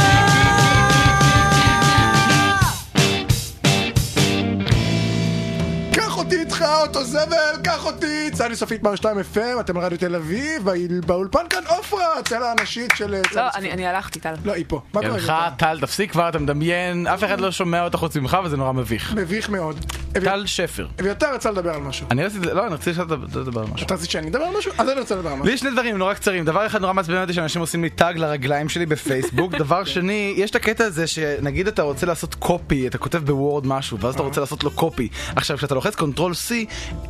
Speaker 3: קח אותי איתך, אותו זבל, קח אותי! צעני סופית מר 2 FM, אתם רדיו תל אביב, באיל- באולפן כאן עופרה, הצלע הנשית של אה,
Speaker 5: לא,
Speaker 3: צעני סופית.
Speaker 5: אני אני הלכתי, טל.
Speaker 3: לא, היא פה. מה קורה?
Speaker 1: אלך, טל, תפסיק כבר, אתה מדמיין, אף אחד לא שומע אותך חוץ ממך וזה נורא מביך.
Speaker 3: מביך מאוד.
Speaker 1: טל שפר.
Speaker 3: אביתר רצה לדבר על משהו.
Speaker 1: אני רציתי, לא, אני רציתי שאתה אתה תדבר על משהו.
Speaker 3: אתה רצית שאני אדבר על משהו? אז אני רוצה לדבר על משהו.
Speaker 1: לי שני דברים נורא קצרים, דבר אחד נורא מעצבן אותי שאנשים עושים לי טאג לרגליים שלי בפייסבוק, דבר שני, יש את הקטע הזה שנגיד אתה רוצה לעשות קופי, אתה כותב בוורד משהו, ואז אתה רוצה לעשות לו קופי. עכשיו כשאתה לוחץ קונטרול C,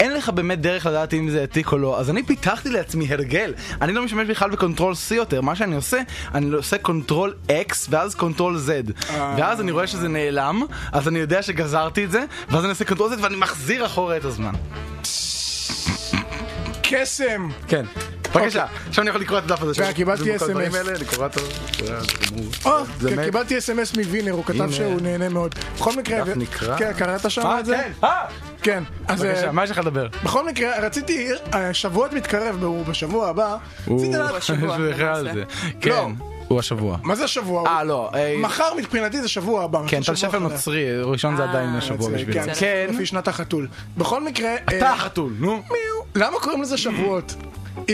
Speaker 1: אין לך באמת דרך לדעת אם זה העתיק או לא, אז אני פיתחתי לעצמי הרגל, אני לא משתמש בכלל בקונטרול C יותר, מה שאני עושה, אני עושה קונטרול X ואז קונטרול Z, ואז אני רואה שזה נעלם, אז אני יודע שגזרתי את זה, ואז אני עושה קונטרול Z ואני מחזיר אחורה את הזמן.
Speaker 3: קסם!
Speaker 1: כן. בבקשה, עכשיו אני יכול לקרוא את הדף הזה.
Speaker 3: כן, קיבלתי
Speaker 1: במקום הדברים
Speaker 3: SMS.
Speaker 1: האלה, אני קורא אותו.
Speaker 3: או,
Speaker 1: זה
Speaker 3: כן,
Speaker 1: מת.
Speaker 3: קיבלתי אס.אם.אס מווינר, הוא כתב
Speaker 1: הנה.
Speaker 3: שהוא נהנה מאוד. בכל מקרה...
Speaker 1: דף נקרא.
Speaker 3: כן, קראת שם
Speaker 1: אה,
Speaker 3: את זה?
Speaker 1: כן. אה!
Speaker 3: כן. אז,
Speaker 1: בבקשה,
Speaker 3: אה,
Speaker 1: מה יש לך לדבר?
Speaker 3: בכל מקרה, רציתי... אה, שבועות מתקרב, הוא בשבוע הבא. רציתי לדעת-
Speaker 1: הוא בכלל זה.
Speaker 3: לא.
Speaker 1: כן, הוא השבוע.
Speaker 3: מה זה השבוע?
Speaker 1: אה, לא. אה,
Speaker 3: מחר מבחינתי זה שבוע הבא.
Speaker 1: כן,
Speaker 3: מתחיל
Speaker 1: טל
Speaker 3: שבוע
Speaker 1: שפר
Speaker 3: חדש.
Speaker 1: נוצרי, ראשון זה עדיין השבוע
Speaker 3: נוצרי,
Speaker 1: בשבילנו.
Speaker 3: אה, כן, לפי שנת החתול. בכל מקרה...
Speaker 1: אתה
Speaker 3: אה,
Speaker 1: החתול, נו.
Speaker 3: מיהו. למה קוראים לזה שבועות?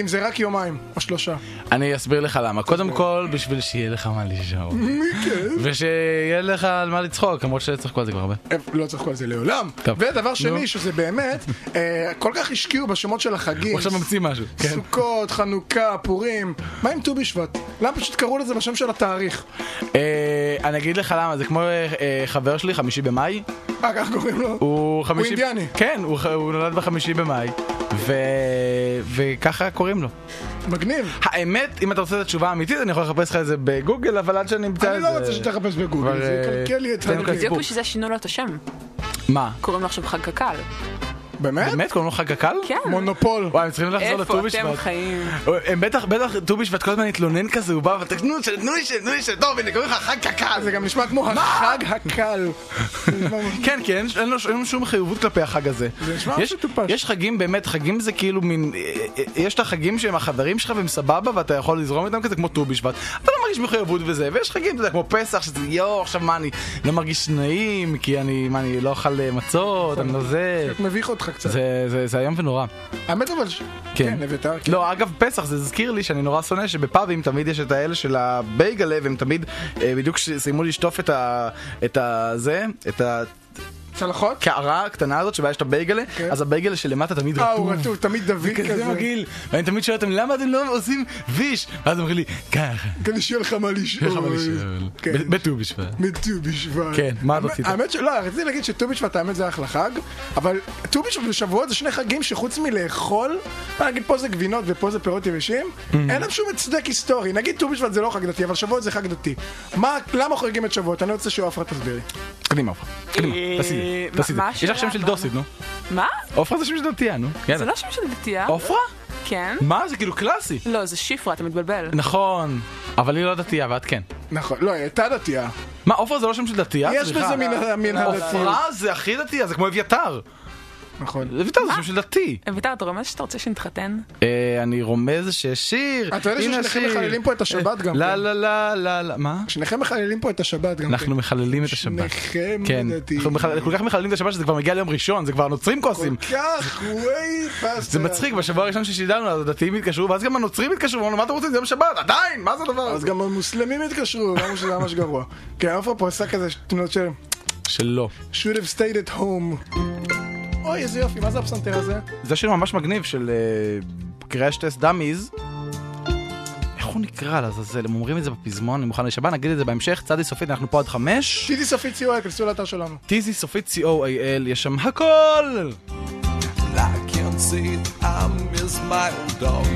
Speaker 3: אם זה רק יומיים או שלושה.
Speaker 1: אני אסביר לך למה. קודם כל, בשביל שיהיה לך מה לישון.
Speaker 3: מי כן?
Speaker 1: ושיהיה לך על מה לצחוק, למרות שצחקו על זה כבר הרבה.
Speaker 3: הם לא צחקו על זה לעולם.
Speaker 1: טוב.
Speaker 3: ודבר
Speaker 1: נו.
Speaker 3: שני, שזה באמת, אה, כל כך השקיעו בשמות של החגים.
Speaker 1: הוא עכשיו ממציא משהו. כן.
Speaker 3: סוכות, חנוכה, פורים. מה עם ט"ו בשבט? למה פשוט קראו לזה בשם של התאריך?
Speaker 1: אה, אני אגיד לך למה, זה כמו אה, אה, חבר שלי, חמישי במאי.
Speaker 3: אה, כך קוראים לו?
Speaker 1: הוא חמישי...
Speaker 3: אינדיאני.
Speaker 1: כן, הוא ח- הוא נולד בחמישי במאי, ו... וככה קוראים לו.
Speaker 3: מגניב.
Speaker 1: האמת, אם אתה רוצה את התשובה האמיתית, אני יכול לחפש לך את זה בגוגל, אבל עד שאני אמצא את זה...
Speaker 3: אני לא רוצה שתחפש
Speaker 1: כבר,
Speaker 3: בגוגל, זה
Speaker 1: אה,
Speaker 3: יקלקל לי את
Speaker 1: תן
Speaker 3: הרגל.
Speaker 5: בדיוק בשביל זה שינו לו את השם.
Speaker 1: מה?
Speaker 5: קוראים לו עכשיו חג קק"ל.
Speaker 3: באמת?
Speaker 1: באמת? קוראים לו חג הקל?
Speaker 5: אה? כן.
Speaker 3: מונופול.
Speaker 1: וואי, הם צריכים לחזור
Speaker 5: איפה
Speaker 1: לט"ו
Speaker 5: אתם
Speaker 1: בשבט.
Speaker 5: חיים?
Speaker 1: הם בטח, בטח, ט"ו בשבט כל הזמן התלונן כזה, הוא בא ואתה, תנו לי, ש- תנו לי, ש- תנו לי, ש- טוב, הנה, קוראים לך חג קקל.
Speaker 3: אה, זה גם נשמע כמו
Speaker 1: מה?
Speaker 3: החג הקל.
Speaker 1: כן, כי אין אין לו ש- אין לו שום חיובות כלפי החג הזה.
Speaker 3: זה נשמע
Speaker 1: יש-
Speaker 3: מטופש.
Speaker 1: יש חגים, באמת, חגים זה כאילו מין... אה, אה, יש את החגים שהם החברים שלך והם סבבה, ואתה יכול לזרום איתם כזה, כמו ט"ו בשבט. אתה לא מרגיש מחויבות וזה, ויש חגים, אתה יודע, כמו פסח, שזה יואו, עכשיו מה, אני לא מרגיש נעים, כי אני, מה, אני לא אוכל אה, מצות, אני לא זה...
Speaker 3: מביך אותך קצת.
Speaker 1: זה- זה- זה איום ונורא.
Speaker 3: האמת אבל... ש-
Speaker 1: כן.
Speaker 3: כן, אביתר. כן.
Speaker 1: לא, אגב, פסח, זה הזכיר לי שאני נורא שונא שבפאבים תמיד יש את האלה של הבייגלה, והם תמיד אה, בדיוק ש- סיימו לשטוף את ה... את ה... זה, את ה...
Speaker 3: צלחות?
Speaker 1: קערה הקטנה הזאת שבה יש את הבייגלה, אז הבייגלה שלמטה תמיד רטוב.
Speaker 3: אה, הוא רטוב, תמיד דביק
Speaker 1: זה
Speaker 3: כן. כזה.
Speaker 1: כזה מגעיל. ואני תמיד שואל אותם, למה אתם לא עושים ויש? ואז אומרים לי, ככה.
Speaker 3: כדי שיהיה לך מה לשאול.
Speaker 1: שיהיה לך מה לשאול.
Speaker 3: כן.
Speaker 1: ב- בט"ו בשבט.
Speaker 3: מט"ו בשבט.
Speaker 1: כן, מה
Speaker 3: האמת-
Speaker 1: רצית?
Speaker 3: האמת שלא, רציתי להגיד שט"ו בשבט האמת זה אחלה חג, אבל ט"ו בשבט ושבועות זה שני חגים שחוץ מלאכול, בוא נגיד פה זה גבינות ופה זה פירות יבשים,
Speaker 1: Mm-hmm.
Speaker 3: אין להם שום הצדק היסטורי. נגיד ט"ו בשבט זה לא חג דתי, אבל שבועות זה חג דתי. מה, למה חוגגים את שבועות? אני רוצה שעופרה תסביר לי.
Speaker 1: קדימה, עופרה. קדימה,
Speaker 3: אה,
Speaker 1: תעשי את
Speaker 5: מה-
Speaker 1: זה. תעשי את
Speaker 5: מה
Speaker 1: זה. יש לך
Speaker 5: השאלה?
Speaker 1: שם של דוסית, נו.
Speaker 5: מה?
Speaker 1: עופרה זה שם של דתייה, נו.
Speaker 5: זה
Speaker 1: יאללה.
Speaker 5: לא שם של דתייה.
Speaker 1: עופרה?
Speaker 5: כן.
Speaker 1: מה? זה כאילו קלאסי.
Speaker 5: לא, זה שפרה, אתה מתבלבל.
Speaker 1: נכון. אבל היא לא דתייה, ואת כן.
Speaker 3: נכון, לא, היא הייתה דתייה.
Speaker 1: מה, עופרה זה לא שם של דתייה?
Speaker 3: יש
Speaker 1: סליחה.
Speaker 3: בזה מן ה- מן הדתיות.
Speaker 1: עופרה זה הכי דתייה, זה כמו אביתר.
Speaker 3: נכון.
Speaker 1: אביתר זה שם של דתי.
Speaker 5: אביתר, אתה רומז שאתה רוצה שנתחתן?
Speaker 1: אה, אני רומז שיש שיר.
Speaker 3: אתה יודע
Speaker 1: הנה
Speaker 3: ששניכם
Speaker 1: השיר.
Speaker 3: מחללים פה את השבת
Speaker 1: אה,
Speaker 3: גם
Speaker 1: לא,
Speaker 3: כן.
Speaker 1: לא, לא, לא, לא, מה?
Speaker 3: שניכם מחללים פה את השבת גם. כן.
Speaker 1: אנחנו מחללים את השבת.
Speaker 3: שניכם
Speaker 1: כן.
Speaker 3: לדעתי.
Speaker 1: אנחנו מחלל- כל כך מחללים את השבת שזה כבר מגיע ליום ראשון, זה כבר נוצרים כועסים.
Speaker 3: כן. כך, ווי פסטה.
Speaker 1: זה מצחיק, בשבוע הראשון ששידרנו, אז הדתיים התקשרו, ואז גם הנוצרים התקשרו, אמרנו, מה אתם רוצים? זה יום שבת, עדיין, מה זה הדבר הזה?
Speaker 3: אז גם המוסלמים התקשרו, אמרו שזה ממש גרוע. כן, עפרה פה עשה כזה תמונות של...
Speaker 1: שלא.
Speaker 3: should have stayed at home. אוי, איזה יופי, מה זה הפסנתר הזה?
Speaker 1: זה שיר ממש מגניב של קריאה שטס דאמיז. איך הוא נקרא לעזאזל? הם אומרים את זה בפזמון, אני מוכן לשב"ן, נגיד את זה בהמשך. צדי סופית, אנחנו פה עד חמש.
Speaker 3: שיטי סופית סיוע, כנסו לאתר שלנו.
Speaker 1: טיזי סופית co.il, יש שם הכל!
Speaker 14: I can see it. I miss my old dog.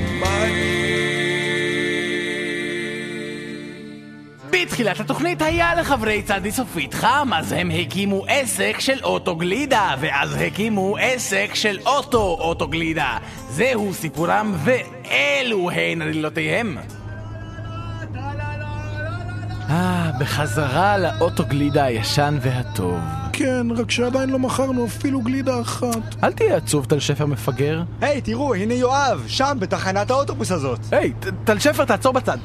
Speaker 11: בתחילת התוכנית היה לחברי צדי סופית חם, אז הם הקימו עסק של אוטוגלידה, ואז הקימו עסק של אוטו-אוטוגלידה. זהו סיפורם, ואלו הן עלילותיהם.
Speaker 4: אה, בחזרה לאוטוגלידה הישן והטוב.
Speaker 3: כן, רק שעדיין לא מכרנו אפילו גלידה אחת.
Speaker 1: אל תהיה עצוב, טל שפר מפגר.
Speaker 2: היי, תראו, הנה יואב, שם, בתחנת האוטובוס הזאת.
Speaker 1: היי, טל שפר, תעצור בצד.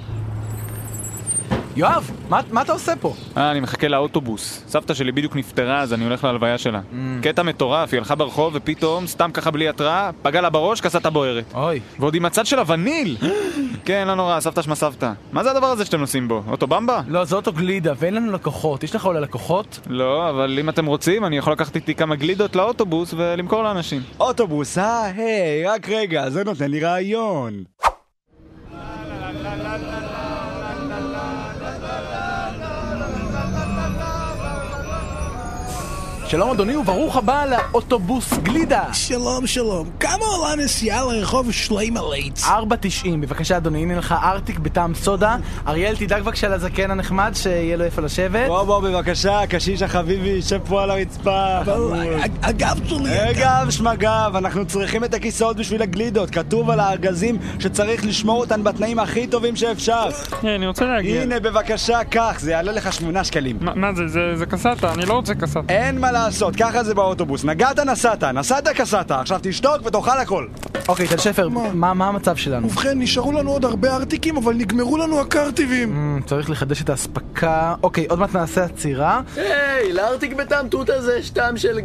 Speaker 1: יואב, מה, מה אתה עושה פה?
Speaker 12: אה, אני מחכה לאוטובוס. סבתא שלי בדיוק נפטרה, אז אני הולך להלוויה שלה. קטע מטורף, היא הלכה ברחוב, ופתאום, סתם ככה בלי התראה, פגע לה בראש, כסה את הבוערת.
Speaker 1: אוי.
Speaker 12: ועוד עם הצד שלה וניל! כן, לא נורא, סבתא שמה סבתא. מה זה הדבר הזה שאתם נוסעים בו? אוטובמבה?
Speaker 1: לא, זה אוטוגלידה, ואין לנו לקוחות. יש לך עולה לקוחות?
Speaker 12: לא, אבל אם אתם רוצים, אני יכול לקחת איתי כמה גלידות לאוטובוס ולמכור לאנשים.
Speaker 2: אוטובוס, אה, היי, רק רגע, זה נותן לי רעיון.
Speaker 4: שלום אדוני וברוך הבא לאוטובוס גלידה.
Speaker 14: שלום, שלום. כמה עולה נסיעה לרחוב שליימלייץ?
Speaker 4: 4.90, בבקשה אדוני, הנה לך ארטיק בטעם סודה. אריאל, תדאג בבקשה לזקן הנחמד, שיהיה לו איפה לשבת.
Speaker 2: בוא בוא בבקשה, הקשיש החביבי, יושב פה על הרצפה.
Speaker 14: הגב שלי,
Speaker 2: הגב שמגב, אנחנו צריכים את הכיסאות בשביל הגלידות. כתוב על הארגזים שצריך לשמור אותן בתנאים הכי טובים שאפשר.
Speaker 12: אני רוצה
Speaker 2: להגיע. הנה, בבקשה, קח, זה יעלה לך שמונה שקלים.
Speaker 12: מה זה? זה קסטה, אני לא רוצה קסטה.
Speaker 2: אין מה לעשות, ככה זה באוטובוס. נגעת, נסעת, נסעת, קסעת. עכשיו תשתוק ותאכל הכל.
Speaker 4: אוקיי, טל שפר, מה מה המצב שלנו?
Speaker 3: ובכן, נשארו לנו עוד הרבה ארטיקים, אבל נגמרו לנו הקרטיבים.
Speaker 4: אמ, צריך לחדש את האספקה. אוקיי, עוד מעט נעשה עצירה.
Speaker 15: היי, לארטיק בטעם תותא זה יש טעם של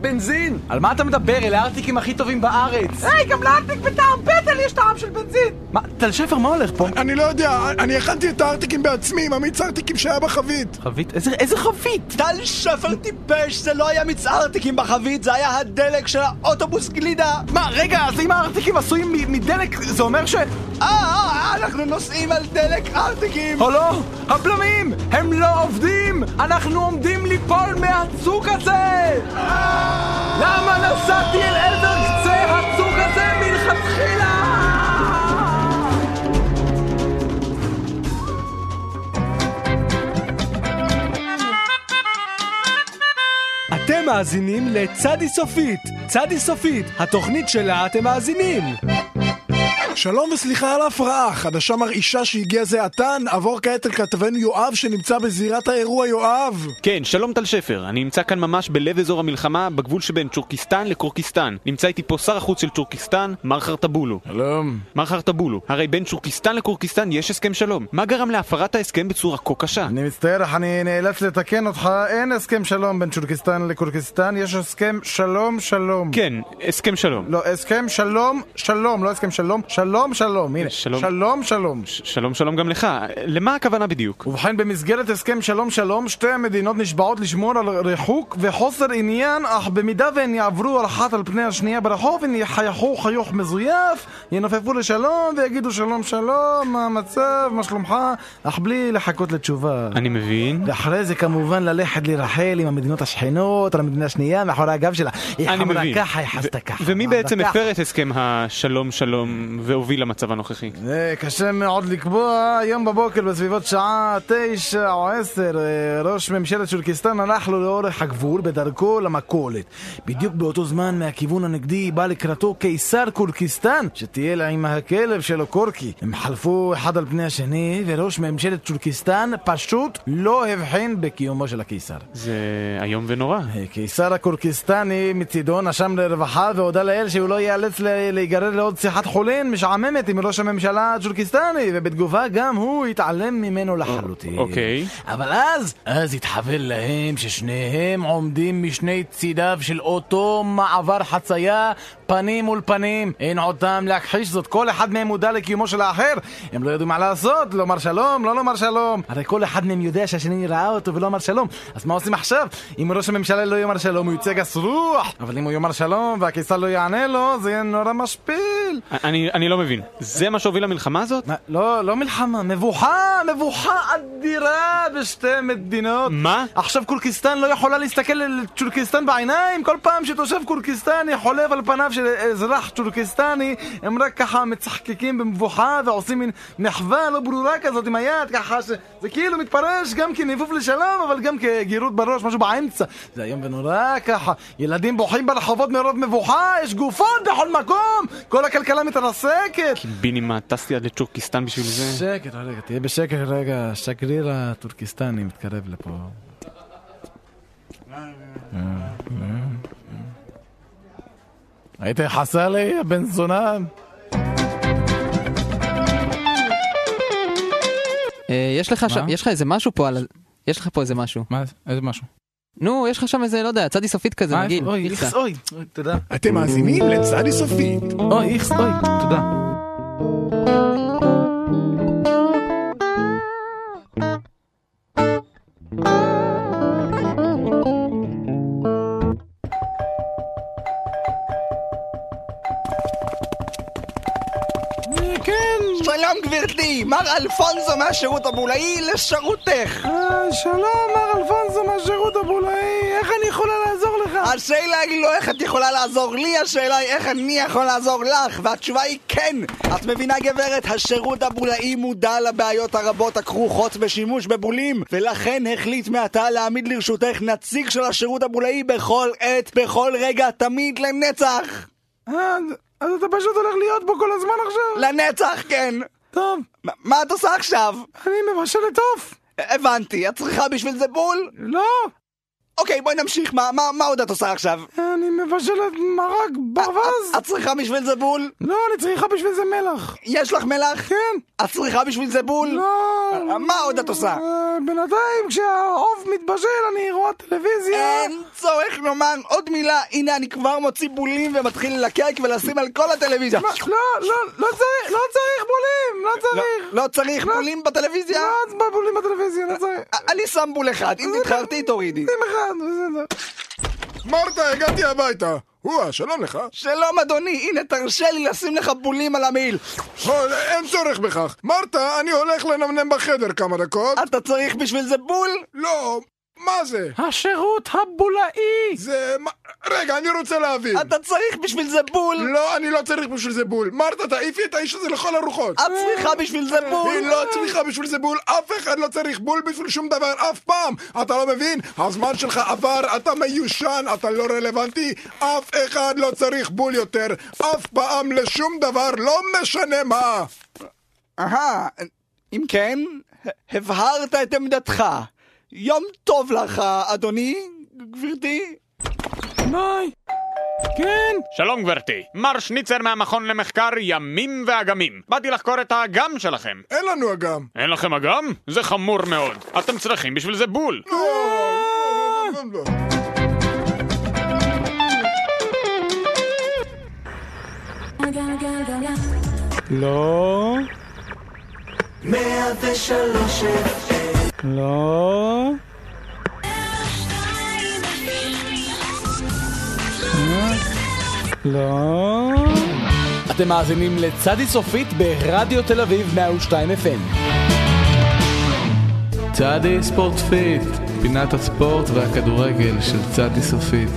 Speaker 15: בנזין.
Speaker 4: על מה אתה מדבר? אלה הארטיקים הכי טובים בארץ.
Speaker 15: היי, גם לארטיק בטעם פטל יש טעם של בנזין.
Speaker 4: מה, טל שפר, מה הולך פה?
Speaker 3: אני לא יודע, אני הכנתי את הארטיקים בעצמי עם המיץ הארטיקים שהיה בחבית.
Speaker 4: חבית? איזה, איזה חבית?
Speaker 2: טל שפר טיפש, זה לא היה מיץ ארטיקים בחבית, זה היה הדלק של האוטובוס גלידה.
Speaker 4: מה, רגע, אז אם הארטיקים עשויים מ- מדלק, זה אומר ש...
Speaker 2: אה, אה, אנחנו נוסעים על דלק ארטיקים!
Speaker 4: או לא, הבלמים, הם לא עובדים! אנחנו עומדים ליפול מהצוק הזה! למה נסעתי אל עבר קצה הצוק הזה מלכתחילה?
Speaker 2: אתם מאזינים לצדי סופית. צדי סופית, התוכנית שלה אתם מאזינים.
Speaker 3: שלום וסליחה על ההפרעה, חדשה מרעישה שהגיעה זה עתה, נעבור כעת אל כתבנו יואב שנמצא בזירת האירוע יואב.
Speaker 12: כן, שלום טל שפר, אני נמצא כאן ממש בלב אזור המלחמה, בגבול שבין צ'ורקיסטן לקורקיסטן. נמצא איתי פה שר החוץ של צ'ורקיסטן, מר חרטבולו.
Speaker 1: שלום.
Speaker 12: מר חרטבולו, הרי בין צ'ורקיסטן לקורקיסטן יש הסכם שלום. מה גרם להפרת ההסכם בצורה כה קשה?
Speaker 16: אני מצטער, אך אני נאלץ לתקן אותך, אין הסכם שלום בין צ'ורקיסטן לקורקיסטן, יש הסכם שלום שלום.
Speaker 12: כן, הסכם שלום.
Speaker 16: לא, הסכם שלום שלום, לא הסכם שלום, שלום שלום, הנה,
Speaker 12: שלום.
Speaker 16: שלום שלום.
Speaker 12: שלום שלום גם לך, למה הכוונה בדיוק?
Speaker 16: ובכן, במסגרת הסכם שלום שלום, שתי המדינות נשבעות לשמור על ריחוק וחוסר עניין, אך במידה והן יעברו אחת על פני השנייה ברחוב, הן יחייכו חיוך מזויף, ינופפו לשלום ויגידו שלום שלום, מה המצב, מה שלומך, אך בלי לחכות לתשובה.
Speaker 12: אני מבין.
Speaker 4: ואחרי זה כמובן ללכת לרחל עם המדינות השכנות, על המדינה השנייה, מאחורי הגב שלה.
Speaker 12: אני מבין.
Speaker 4: ככה, היא חסתה
Speaker 12: ומי בעצם
Speaker 4: ככה.
Speaker 12: הפר את הסכם השלום שלום להוביל למצב הנוכחי.
Speaker 1: אה, קשה מאוד לקבוע, היום בבוקר בסביבות שעה תשע או עשר, אה, ראש ממשלת טורקיסטן הלך לו לאורך הגבול בדרכו למכולת. בדיוק באותו זמן מהכיוון הנגדי בא לקראתו קיסר קורקיסטן, שטייל עם הכלב שלו קורקי. הם חלפו אחד על פני השני, וראש ממשלת טורקיסטן פשוט לא הבחין בקיומו של הקיסר.
Speaker 12: זה איום ונורא.
Speaker 1: הקיסר הקורקיסטני מצידו נשם לרווחה והודה לאל שהוא לא ייאלץ ל- להיגרר לעוד שיחת חולין משעממת עם ראש הממשלה הטורקיסטני ובתגובה גם הוא התעלם ממנו לחלוטין.
Speaker 12: אוקיי.
Speaker 4: אבל אז, אז התחוור להם ששניהם עומדים משני צידיו של אותו מעבר חצייה, פנים מול פנים. אין עוד טעם להכחיש זאת, כל אחד מהם מודע לקיומו של האחר. הם לא ידעו מה לעשות, לומר שלום, לא לומר שלום. הרי כל אחד מהם יודע שהשני ראה אותו ולא אמר שלום. אז מה עושים עכשיו? אם ראש הממשלה לא יאמר שלום, הוא יוצא גס רוח. אבל אם הוא יאמר שלום והקיסר לא יענה לו, זה יהיה נורא משפיל.
Speaker 12: אני, אני לא מבין. זה מה שהוביל למלחמה הזאת?
Speaker 1: לא, לא מלחמה, מבוכה, מבוכה אדירה בשתי מדינות.
Speaker 12: מה?
Speaker 1: עכשיו קורקיסטן לא יכולה להסתכל לטורקיסטן בעיניים? כל פעם שתושב קורקיסטני חולב על פניו של אזרח טורקיסטני, הם רק ככה מצחקקים במבוכה ועושים מין מחווה לא ברורה כזאת עם היד, ככה ש... זה כאילו מתפרש גם כניבוב לשלום, אבל גם כגירות בראש, משהו באמצע. זה איום ונורא ככה. ילדים בוכים ברחובות מרוב מבוכה, יש גופות בכל מקום! כל הכלכלה מתרסקת!
Speaker 12: קיבינימט, טסתי עד לטורקיסטן בשביל זה.
Speaker 1: שקט, רגע, תהיה בשקט רגע, השגריר הטורקיסטני מתקרב לפה. היית חסר לי, הבן זונה?
Speaker 7: אה, יש לך שם, יש לך איזה משהו פה על... ה- יש לך פה איזה משהו.
Speaker 13: מה? איזה משהו?
Speaker 7: נו, יש לך שם איזה, לא יודע, צדי סופית כזה,
Speaker 13: מה,
Speaker 7: מגעיל.
Speaker 13: אוי,
Speaker 7: איכסה.
Speaker 13: איכס,
Speaker 1: אוי, תודה.
Speaker 3: אתם מאזינים לצדי סופית.
Speaker 1: אוי, איכס, אוי, תודה.
Speaker 2: כן. שלום גברתי, מר אלפונזו מהשירות הבולאי לשירותך.
Speaker 3: אה,
Speaker 1: שלום, מר אלפונזו מהשירות הבולאי, איך אני יכולה לעזור לך?
Speaker 2: השאלה היא לא איך את יכולה לעזור לי, השאלה היא איך אני יכול לעזור לך, והתשובה היא כן. את מבינה גברת, השירות הבולאי מודע לבעיות הרבות הכרוכות בשימוש בבולים, ולכן החליט מעתה להעמיד לרשותך נציג של השירות הבולאי בכל עת, בכל רגע, תמיד לנצח.
Speaker 1: אז אתה פשוט הולך להיות בו כל הזמן עכשיו?
Speaker 2: לנצח, כן.
Speaker 1: טוב.
Speaker 2: מה את עושה עכשיו?
Speaker 1: אני מבשלת עוף.
Speaker 2: הבנתי, את צריכה בשביל זה בול?
Speaker 1: לא.
Speaker 2: אוקיי, בואי נמשיך, מה, מה, מה עוד את עושה עכשיו?
Speaker 1: אני מבשלת מרק ברווז.
Speaker 2: את צריכה בשביל זה בול?
Speaker 1: לא, אני צריכה בשביל זה מלח.
Speaker 2: יש לך מלח?
Speaker 1: כן.
Speaker 2: את צריכה בשביל זה בול?
Speaker 1: לא.
Speaker 2: מה עוד את עושה?
Speaker 1: אה, בינתיים כשהעוף מתבשל אני רואה
Speaker 3: אה,
Speaker 1: טלוויזיה.
Speaker 2: אין צורך לומר עוד מילה, הנה אני כבר מוציא בולים ומתחיל ללקק ולשים על כל הטלוויזיה.
Speaker 1: מה? לא, לא, לא צריך, לא צריך בולים, לא צריך.
Speaker 2: לא צריך בולים בטלוויזיה?
Speaker 1: לא, אז בולים בטלוויזיה, לא צריך.
Speaker 2: אני שם בול אחד, אם
Speaker 1: לא,
Speaker 2: תתחרתי תורידי.
Speaker 1: שים אחד, בסדר.
Speaker 3: מרתה, הגעתי הביתה. וואה, שלום לך.
Speaker 2: שלום אדוני, הנה תרשה לי לשים לך בולים על המעיל.
Speaker 3: לא, אין צורך בכך. מרתה, אני הולך לנמנם בחדר כמה דקות.
Speaker 2: אתה צריך בשביל זה בול?
Speaker 3: לא. מה זה?
Speaker 1: השירות הבולאי!
Speaker 3: זה... מה- רגע, אני רוצה להבין.
Speaker 2: אתה צריך בשביל זה בול!
Speaker 3: לא, אני לא צריך בשביל זה בול. מרתה, תעיפי את האיש הזה לכל הרוחות.
Speaker 1: אה,
Speaker 2: את צריכה בשביל זה בול!
Speaker 3: היא לא צריכה בשביל זה בול. אף אחד לא צריך בול בשביל שום דבר, אף פעם. אתה לא מבין? הזמן שלך עבר, אתה מיושן, אתה לא רלוונטי. אף אחד לא צריך בול יותר. אף פעם לשום דבר, לא משנה מה.
Speaker 2: אהה, אם כן, הבהרת את עמדתך. יום טוב לך, אדוני, גברתי.
Speaker 1: ביי. כן?
Speaker 9: שלום גברתי, מר שניצר מהמכון למחקר ימים ואגמים. באתי לחקור את האגם שלכם.
Speaker 3: אין לנו אגם.
Speaker 9: אין לכם אגם? זה חמור מאוד. אתם צריכים בשביל זה בול.
Speaker 13: לא,
Speaker 17: 103
Speaker 13: לא.
Speaker 4: לא. אתם מאזינים לצדי סופית ברדיו תל אביב 102 FM.
Speaker 13: צעדי ספורט פיט, פינת הספורט והכדורגל של צעדי סופית.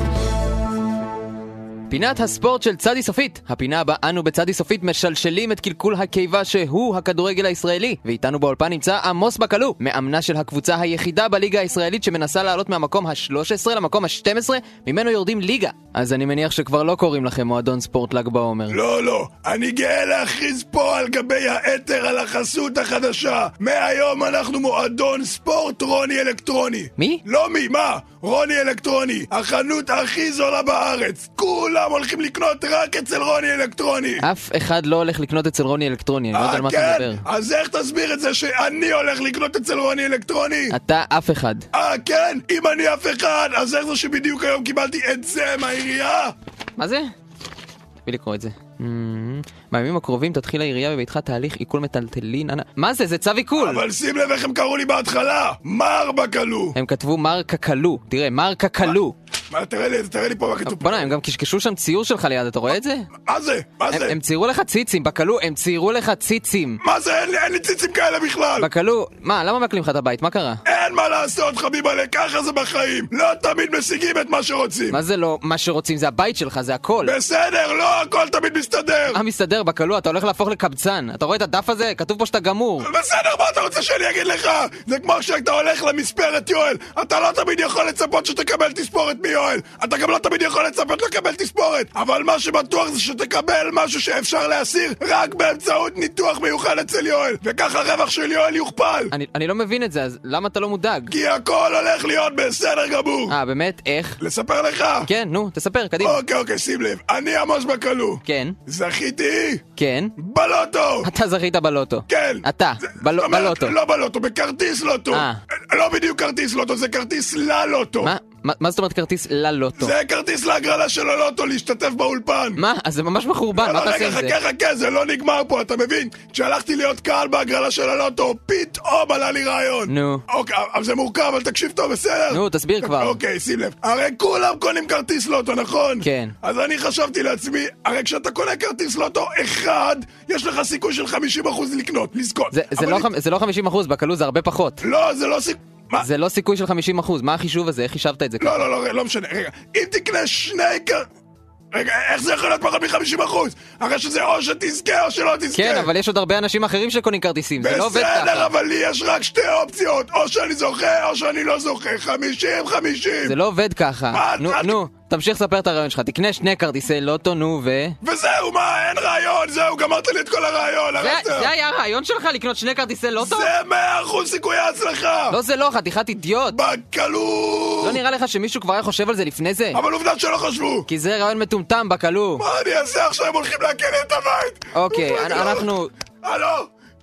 Speaker 7: פינת הספורט של צדי סופית. הפינה בה אנו בצדי סופית משלשלים את קלקול הקיבה שהוא הכדורגל הישראלי. ואיתנו באולפן נמצא עמוס בקלו, מאמנה של הקבוצה היחידה בליגה הישראלית שמנסה לעלות מהמקום ה-13 למקום ה-12, ממנו יורדים ליגה. אז אני מניח שכבר לא קוראים לכם מועדון ספורט ל"ג בעומר.
Speaker 18: לא, לא, אני גאה להכריז פה על גבי האתר על החסות החדשה. מהיום אנחנו מועדון ספורט רוני אלקטרוני.
Speaker 7: מי?
Speaker 18: לא מי, מה? רוני אלקטרוני, החנות הכי זולה בארץ. כולם הולכים לקנות רק אצל רוני אלקטרוני.
Speaker 7: אף אחד לא הולך לקנות אצל רוני אלקטרוני, אני לא יודע על מה אתה
Speaker 18: כן?
Speaker 7: מדבר.
Speaker 18: אז איך תסביר את זה שאני הולך לקנות אצל רוני אלקטרוני?
Speaker 7: אתה אף אחד.
Speaker 18: אה, כן? אם אני אף אחד, אז איך זה שבדיוק היום קיבלתי את זה מהעירייה?
Speaker 7: מה זה? תביא לקרוא את זה. אמ, בימים הקרובים תתחיל העירייה בביתך תהליך עיקול מטלטלין. אנ- מה זה? זה צו עיקול!
Speaker 18: אבל שים לב איך הם קראו לי בהתחלה! מר בקלו!
Speaker 7: הם כתבו מר קקלו. תראה, מר קקלו.
Speaker 18: מה, תראה לי, תראה לי פה מה כתוב.
Speaker 7: בואנה, הם גם קשקשו שם ציור שלך ליד, אתה רואה את זה?
Speaker 18: מה זה? מה
Speaker 7: הם-
Speaker 18: זה?
Speaker 7: הם ציירו לך ציצים, בקלו, הם ציירו לך ציצים.
Speaker 18: מה זה? אין לי- אין לי ציצים כאלה בכלל!
Speaker 7: בקלו, מה, למה מעקלים לך את הבית? מה קרה?
Speaker 18: אין מה לעשות, חביבלה, ככה זה בחיים! לא תמיד משיגים את מה שרוצים!
Speaker 7: מה זה לא מה שרוצים? זה הבית שלך, זה הכל.
Speaker 18: בסדר, לא הכל תמיד מסתדר!
Speaker 7: אה, מסתדר, בקלו, אתה הולך להפוך לקבצן. אתה רואה את הדף הזה? כתוב פה שאתה גמור.
Speaker 18: בסדר, מה אתה רוצה שאני אגיד לך? זה כמו כשאתה הולך למספרת יואל, אתה לא תמיד יכול לצפות שתקבל תספורת מיואל. אתה גם לא תמיד יכול לצפות לקבל תספורת. אבל מה שבטוח זה שתקבל משהו שאפשר להסיר רק באמצעות ניתוח מיוחד אצל יואל. וככה הרווח של יואל יוכפל.
Speaker 7: אני- אני לא מבין את זה, אז למה אתה לא מודאג?
Speaker 18: כי הכל הולך להיות בסדר גמור.
Speaker 7: אה, באמת? איך?
Speaker 18: לספר לך?
Speaker 7: כן, נו, תספר, קדימה.
Speaker 18: אוקיי, אוקיי, שים לב. אני עמוס בקלו.
Speaker 7: כן.
Speaker 18: זכיתי
Speaker 7: כן.
Speaker 18: בלוטו!
Speaker 7: אתה זכית בלוטו.
Speaker 18: כן.
Speaker 7: אתה, בל-
Speaker 18: זאת אומרת,
Speaker 7: בלוטו.
Speaker 18: לא בלוטו, בכרטיס לוטו.
Speaker 7: אה.
Speaker 18: לא בדיוק כרטיס לוטו, זה כרטיס ללוטו.
Speaker 7: מה- מה- מה זאת אומרת כרטיס ללוטו?
Speaker 18: זה כרטיס להגרלה של הלוטו, להשתתף באולפן.
Speaker 7: מה? אז זה ממש מחורבן,
Speaker 18: לא,
Speaker 7: מה
Speaker 18: לא,
Speaker 7: תעשה
Speaker 18: רגע,
Speaker 7: עם זה?
Speaker 18: חכה, חכה, זה לא נגמר פה, אתה מבין? כשהלכתי להיות קהל בהגרלה של הלוטו, פתאום עלה לי רעיון.
Speaker 7: נו.
Speaker 18: אוקיי, אבל זה מורכב, אבל תקשיב טוב, בסדר?
Speaker 7: נו, תסביר כבר.
Speaker 18: אוקיי, שים לב. הרי כולם קונים כרטיס לוטו, נכון?
Speaker 7: כן.
Speaker 18: אז אני חשבתי לעצמי, הרי כשאתה קונה כרטיס לוטו אחד, יש לך סיכוי של 50% לקנות, לזכות.
Speaker 7: זה- זה לא חמ- זה לא 50 אחוז, בקלו זה הרבה פחות.
Speaker 18: לא, זה לא סיכוי...
Speaker 7: זה לא סיכוי של 50 אחוז, מה החישוב הזה? איך חישבת את זה ככה?
Speaker 18: לא, לא, לא, לא משנה. רגע, אם תקנה שני כר... רגע, איך זה יכול להיות פחות מ-50%? הרי שזה או שתזכה או שלא תזכה.
Speaker 7: כן, אבל יש עוד הרבה אנשים אחרים שקונים כרטיסים, זה לא עובד ככה.
Speaker 18: בסדר, אבל לי יש רק שתי אופציות, או שאני זוכה או שאני לא זוכה, 50-50.
Speaker 7: זה לא עובד ככה. נו, נו, תמשיך לספר את הרעיון שלך. תקנה שני כרטיסי לוטו, נו, ו...
Speaker 18: וזהו, מה, אין רעיון, זהו, גמרת לי את כל הרעיון,
Speaker 7: זה-
Speaker 18: הרסת.
Speaker 7: זה היה הרעיון שלך לקנות שני כרטיסי לוטו?
Speaker 18: זה מאה אחוז סיכויי הצלחה!
Speaker 7: לא, זה לא, חתיכת אידיוט.
Speaker 18: בקלות!
Speaker 7: לא נראה לך שמישהו כבר היה חושב על זה לפני זה?
Speaker 18: אבל עובדה שלא חשבו!
Speaker 7: כי זה רעיון מטומטם, בקלו.
Speaker 18: מה אני אעשה עכשיו, הם הולכים לעקל לי את הבית!
Speaker 7: אוקיי, אנ- אנחנו...
Speaker 18: הלו,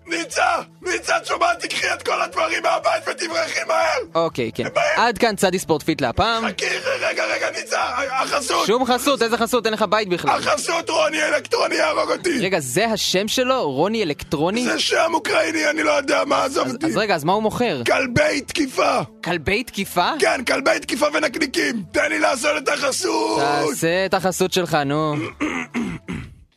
Speaker 18: ניצה, ניצה, את שומעת? תקחי את כל הדברים מהבית ותברחי מהר!
Speaker 7: אוקיי, כן. עד כאן צדי ספורט פיט להפעם.
Speaker 18: חכי, רגע, רגע, ניצה, החסות!
Speaker 7: שום חסות, איזה חסות? אין לך בית בכלל.
Speaker 18: החסות רוני אלקטרוני יהרוג אותי!
Speaker 7: רגע, זה השם שלו? רוני אלקטרוני?
Speaker 18: זה שם אוקראיני, אני לא יודע מה, עזוב
Speaker 7: אז-
Speaker 18: אותי.
Speaker 7: אז רגע, אז מה הוא מוכר?
Speaker 18: כלבי תקיפה.
Speaker 7: כלבי תקיפה?
Speaker 18: כן, כלבי תקיפה ונקניקים. תן לי לעשות את החסות.
Speaker 7: תעשה את החסות שלך, נו.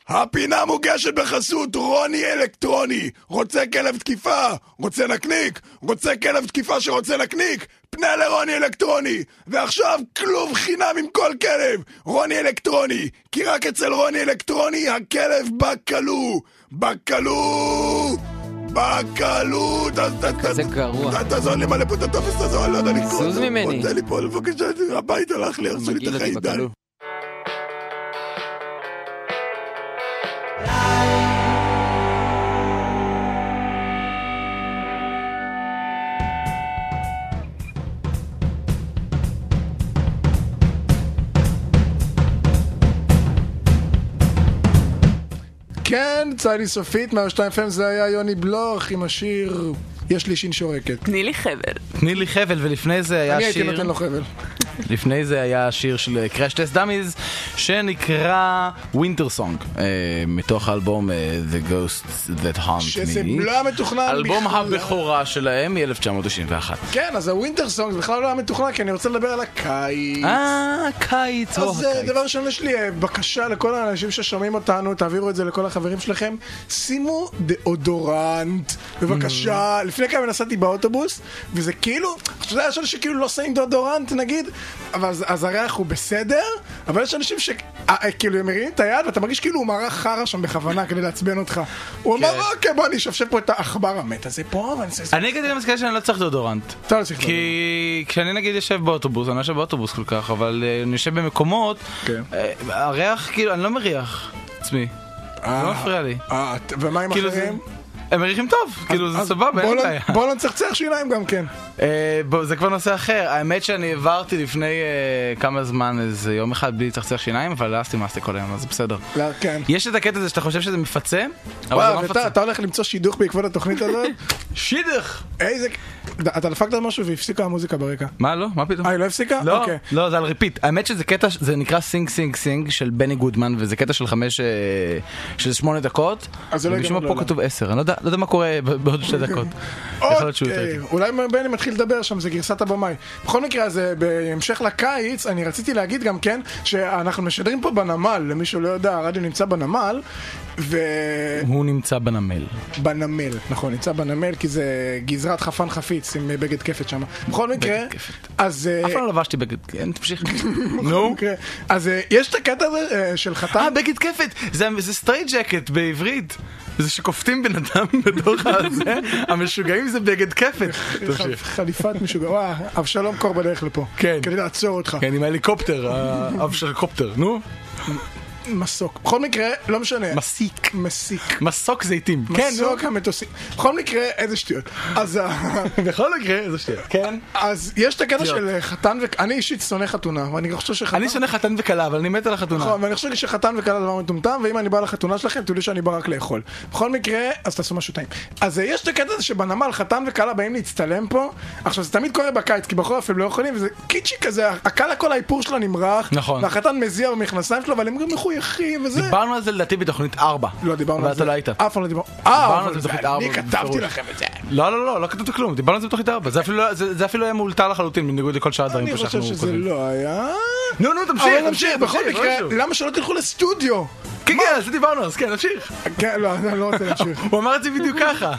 Speaker 18: הפינה מוגשת בחסות רוני אלקטרוני. רוצה כלב תקיפה, רוצה נקניק, רוצה כלב תקיפה שרוצה נקניק, פנה לרוני אלקטרוני. ועכשיו כלוב חינם עם כל כלב. רוני אלקטרוני, כי רק אצל רוני אלקטרוני הכלב בכלוא. בכלוא! בכלוא! כזה
Speaker 7: גרוע.
Speaker 18: תעזור לי מלא פה את הטופס הזה, אני לא יודע לקרוא.
Speaker 7: זוז ממני.
Speaker 18: תן לי פה בבקשה, הביתה הלך לי, הרסו לי את החיים, די.
Speaker 3: כן, ציילי סופית, 102 FM זה היה יוני בלוך עם השיר "יש לי שין שורקת".
Speaker 5: תני לי חבל.
Speaker 1: תני לי חבל, ולפני זה היה
Speaker 3: אני
Speaker 1: שיר...
Speaker 3: הייתי נותן לו חבל.
Speaker 1: לפני זה היה שיר של קראש טסט דאמיז, שנקרא ווינטר סונג, מתוך האלבום אה, The Ghosts That Haunt Me.
Speaker 3: שזה לא היה מתוכנן
Speaker 1: אלבום
Speaker 3: בכלל.
Speaker 1: הבכורה שלהם מ-1991.
Speaker 3: כן, אז הווינטר סונג זה בכלל לא היה מתוכנן, כי אני רוצה לדבר על הקיץ.
Speaker 1: אה, קיץ, או
Speaker 3: אז אה, דבר ראשון, יש לי אה, בקשה לכל האנשים ששומעים אותנו, תעבירו את זה לכל החברים שלכם, שימו דאודורנט בבקשה,
Speaker 1: Mm.
Speaker 3: לפני כמה נסעתי באוטובוס, וזה כאילו, אתה יודע, יש אנשים שכאילו לא שמים דאודורנט נגיד, אבל אז- אז הריח הוא בסדר, אבל יש אנשים שכאילו כאילו, הם מרימים את היד ואתה מרגיש כאילו הוא מרח חרא שם בכוונה כדי לעצבן אותך. הוא אמר,
Speaker 1: כן.
Speaker 3: אוקיי, בוא אני אשפשף פה את העכבר המת הזה פה, ואני אעשה...
Speaker 1: אני אגיד גם מסכים שאני לא צריך דאודורנט.
Speaker 3: אתה לא צריך
Speaker 1: כי כשאני נגיד יושב באוטובוס, אני לא יושב באוטובוס כל כך, אבל אה, אני יושב במקומות, אה, הריח, כאילו, אני לא מריח עצמי. זה
Speaker 3: אה,
Speaker 1: לא מפריע לי.
Speaker 3: ומה עם
Speaker 1: כאילו, זה-
Speaker 3: אחרים?
Speaker 1: הם מריחים טוב, כאילו, זה
Speaker 3: אז
Speaker 1: סבבה,
Speaker 3: בוא
Speaker 1: אין
Speaker 3: לא-
Speaker 1: בעיה.
Speaker 3: בוא לא נצחצח שיניים גם כן.
Speaker 1: אה, בוא, זה כבר נושא אחר, האמת שאני העברתי לפני אה, כמה זמן איזה יום אחד בלי לצחצח שיניים, אבל אז טימסתי כל היום, אז זה בסדר.
Speaker 3: לא, כן.
Speaker 1: יש את הקטע הזה שאתה חושב שזה מפצה, אבל זה
Speaker 3: וואו,
Speaker 1: לא
Speaker 3: ואתה
Speaker 1: מפצה.
Speaker 3: אתה הולך למצוא שידוך בעקבות התוכנית הזאת?
Speaker 1: שידוך!
Speaker 3: איזה... אתה דפקת על משהו והפסיקה המוזיקה ברקע.
Speaker 1: מה לא? מה פתאום?
Speaker 3: אה, היא לא הפסיקה?
Speaker 1: לא,
Speaker 3: אוקיי.
Speaker 1: לא, זה על ריפיט. האמת שזה קטע, זה נקרא סינג סינג סינג של בני גודמן, וזה קטע של חמש, אה, של שמונה דקות.
Speaker 3: אז זה לא
Speaker 1: ומשום מה
Speaker 3: ייגמר
Speaker 1: פה
Speaker 3: לעולם.
Speaker 1: כתוב עשר, אני לא יודע לא יודע מה קורה ב- בעוד שתי דקות. יכול להיות שהוא יותר
Speaker 3: אוקיי,
Speaker 1: טוב.
Speaker 3: אולי בני מתחיל לדבר שם, זה גרסת הבמאי. בכל מקרה, אז אה, בהמשך לקיץ, אני רציתי להגיד גם כן, שאנחנו משדרים פה בנמל, למי שלא יודע, הרדיו נמצא בנמל, ו...
Speaker 1: הוא נמצא בנמל.
Speaker 3: אה. בנמל, נכון, נמצא בנמל, כי זה גזרת חפן חפיץ עם אה, בגד כפת שם. בכל מקרה, אז... אה, אף פעם
Speaker 1: לא לבשתי בגד, כן, תמשיך.
Speaker 3: נו. אז אה, יש את הקטע הזה אה, של חתן... אה,
Speaker 1: בגד כפת! זה זה סטרייט ג'קט בעברית. זה שכופתים בן אדם בתוך הזה, המשוגעים זה בגד כפת. תמשיך.
Speaker 3: חליפת משוגע, וואה, אבשלום קור בדרך לפה.
Speaker 1: כן.
Speaker 3: כדי לעצור אותך.
Speaker 1: כן, עם ההליקופטר, האב של הקופטר, נו.
Speaker 3: מסוק. בכל מקרה, לא משנה.
Speaker 1: מסיק.
Speaker 3: מסיק.
Speaker 1: מסוק זיתים.
Speaker 3: כן, נו. מסוק המטוסים. בכל מקרה, איזה שטויות. אז... ה-
Speaker 1: בכל מקרה, איזה שטויות. כן.
Speaker 3: אז יש את הקטע
Speaker 1: שטויות.
Speaker 3: של אה, חתן ו... אני אישית שונא חתונה, ואני גם חושב שחתן...
Speaker 1: אני שונא חתן וכלה, אבל אני מת על החתונה.
Speaker 3: נכון, ואני חושב שחתן וכלה דבר מטומטם, ואם אני בא לחתונה שלכם, תדעו שאני בא רק לאכול. בכל מקרה, אז תעשו משהו טעים. אז אה, יש את הקטע הזה שבנמל חתן וכלה באים להצטלם פה. עכשיו, זה תמיד קורה בקיץ, כי בחורף הם לא יכולים, וזה קיצ'י כזה, הכלה כל האיפור שלה נמרח.
Speaker 1: נכון.
Speaker 3: והחתן מזיע במכנסיים שלו, אבל הם גם מחויכים וזה.
Speaker 1: דיברנו על זה לדעתי בתוכנית 4. לא,
Speaker 3: דיברנו
Speaker 1: אבל
Speaker 3: על זה.
Speaker 1: אתה לא היית.
Speaker 3: אף פעם לא דיברנו.
Speaker 1: דיברנו
Speaker 3: אה, אבל
Speaker 1: על זה
Speaker 3: זה-
Speaker 1: בתוכנית 4.
Speaker 3: אני כתבתי לכם את זה.
Speaker 1: לא, לא, לא, לא כתבת כלום, דיברנו על זה בתוכנית 4. זה אפילו לא- זה זה אפילו היה מאולתר לחלוטין, בניגוד לכל שאר הדברים
Speaker 3: אני
Speaker 1: פה
Speaker 3: חושב
Speaker 1: שאנחנו
Speaker 3: שזה
Speaker 1: כותבים.
Speaker 3: לא היה.
Speaker 1: נו, נו, תמשיך,
Speaker 3: אבל
Speaker 1: תמשיך,
Speaker 3: נמשיך, בכל
Speaker 1: תמשיך,
Speaker 3: מקרה,
Speaker 1: משהו.
Speaker 3: למה שלא תלכו לסטודיו?
Speaker 1: כן, כן, על זה דיברנו, אז כן, נמשיך.
Speaker 3: כן, לא, אני לא רוצה להמשיך.
Speaker 1: הוא אמר את זה בדיוק ככה.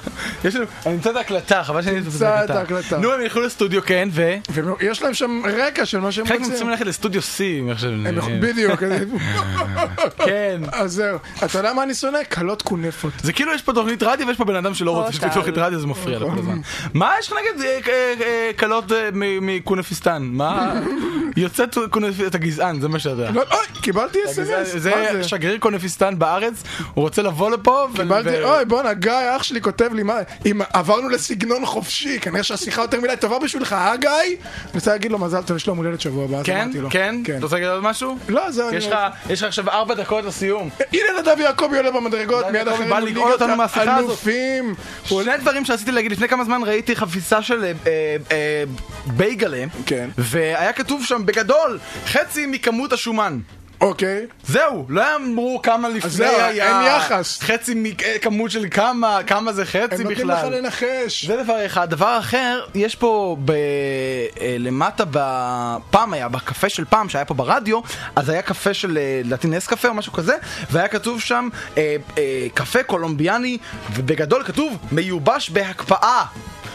Speaker 1: יש לנו, אני אמצא את ההקלטה, חבל שאני
Speaker 3: תמצא את ההקלטה.
Speaker 1: נו, הם ילכו לסטודיו, כן, ו...
Speaker 3: יש להם שם רקע של מה שהם
Speaker 1: חלק
Speaker 3: רוצים.
Speaker 1: מהם צריכים ללכת לסטודיו C, אם עכשיו...
Speaker 3: הם יכול- בדיוק. כן. אז זהו. אתה יודע מה אני שונא? כלות כונפות.
Speaker 1: זה כאילו יש פה תוכנית רדיו ויש פה בן אדם שלא רוצה שתהיה תוכנית רדיו, זה מפריע לו כל הזמן. מה יש לך נגד אה, אה, אה, כלות אה, מ- מכונפיסטן? מה? יוצא כונפיסטן, אתה גזען, זה מה שאתה.
Speaker 3: לא, אוי, קיבלתי
Speaker 1: אתה
Speaker 3: אס.אם.אס.
Speaker 1: גזען. זה שגריר כונפיסטן בארץ, הוא רוצה לבוא לפה. ו-
Speaker 3: קיבלתי,
Speaker 1: ו-
Speaker 3: אוי בואנה גיא אח שלי כותב לי מה, אם עברנו לסגנון חופשי, כנראה שהשיחה יותר מדי טובה בשבילך, אה גיא? אני רוצה להגיד לו מזל טוב, יש לו יום הולדת שבוע הבא, אז
Speaker 1: כן?
Speaker 3: אמרתי לו.
Speaker 1: כן? אתה רוצה להגיד עוד משהו?
Speaker 3: לא, זהו, אני
Speaker 1: יש
Speaker 3: לא-
Speaker 1: לך- יש לך עכשיו ארבע דקות לסיום.
Speaker 3: הנה נדב יעקבי עולה במדרגות, מיד
Speaker 1: יעקבי
Speaker 3: אחרינו
Speaker 1: בא לגאול
Speaker 3: ליגת
Speaker 1: אותנו מהשיחה הזאת.
Speaker 3: האלופים.
Speaker 1: שני דברים שרציתי להגיד, לפני כמה זמן ראיתי חפיסה של אה, אה, אה, בייגלה,
Speaker 3: כן.
Speaker 1: והיה כתוב שם בגדול, חצי מכמות השומן.
Speaker 3: אוקיי.
Speaker 1: זהו, לא אמרו כמה לפני
Speaker 3: זהו,
Speaker 1: היה.
Speaker 3: אין יחס.
Speaker 1: חצי מכמות של כמה, כמה זה חצי
Speaker 3: הם
Speaker 1: בכלל.
Speaker 3: נותנים לך לנחש.
Speaker 1: זה דבר אחד. דבר אחר, יש פה ב... אה, למטה, ב... פעם היה, בקפה של פעם, שהיה פה ברדיו, אז היה קפה של, אה, לדעתי נס קפה או משהו כזה, והיה כתוב שם אה, אה, קפה קולומביאני, ובגדול כתוב מיובש בהקפאה.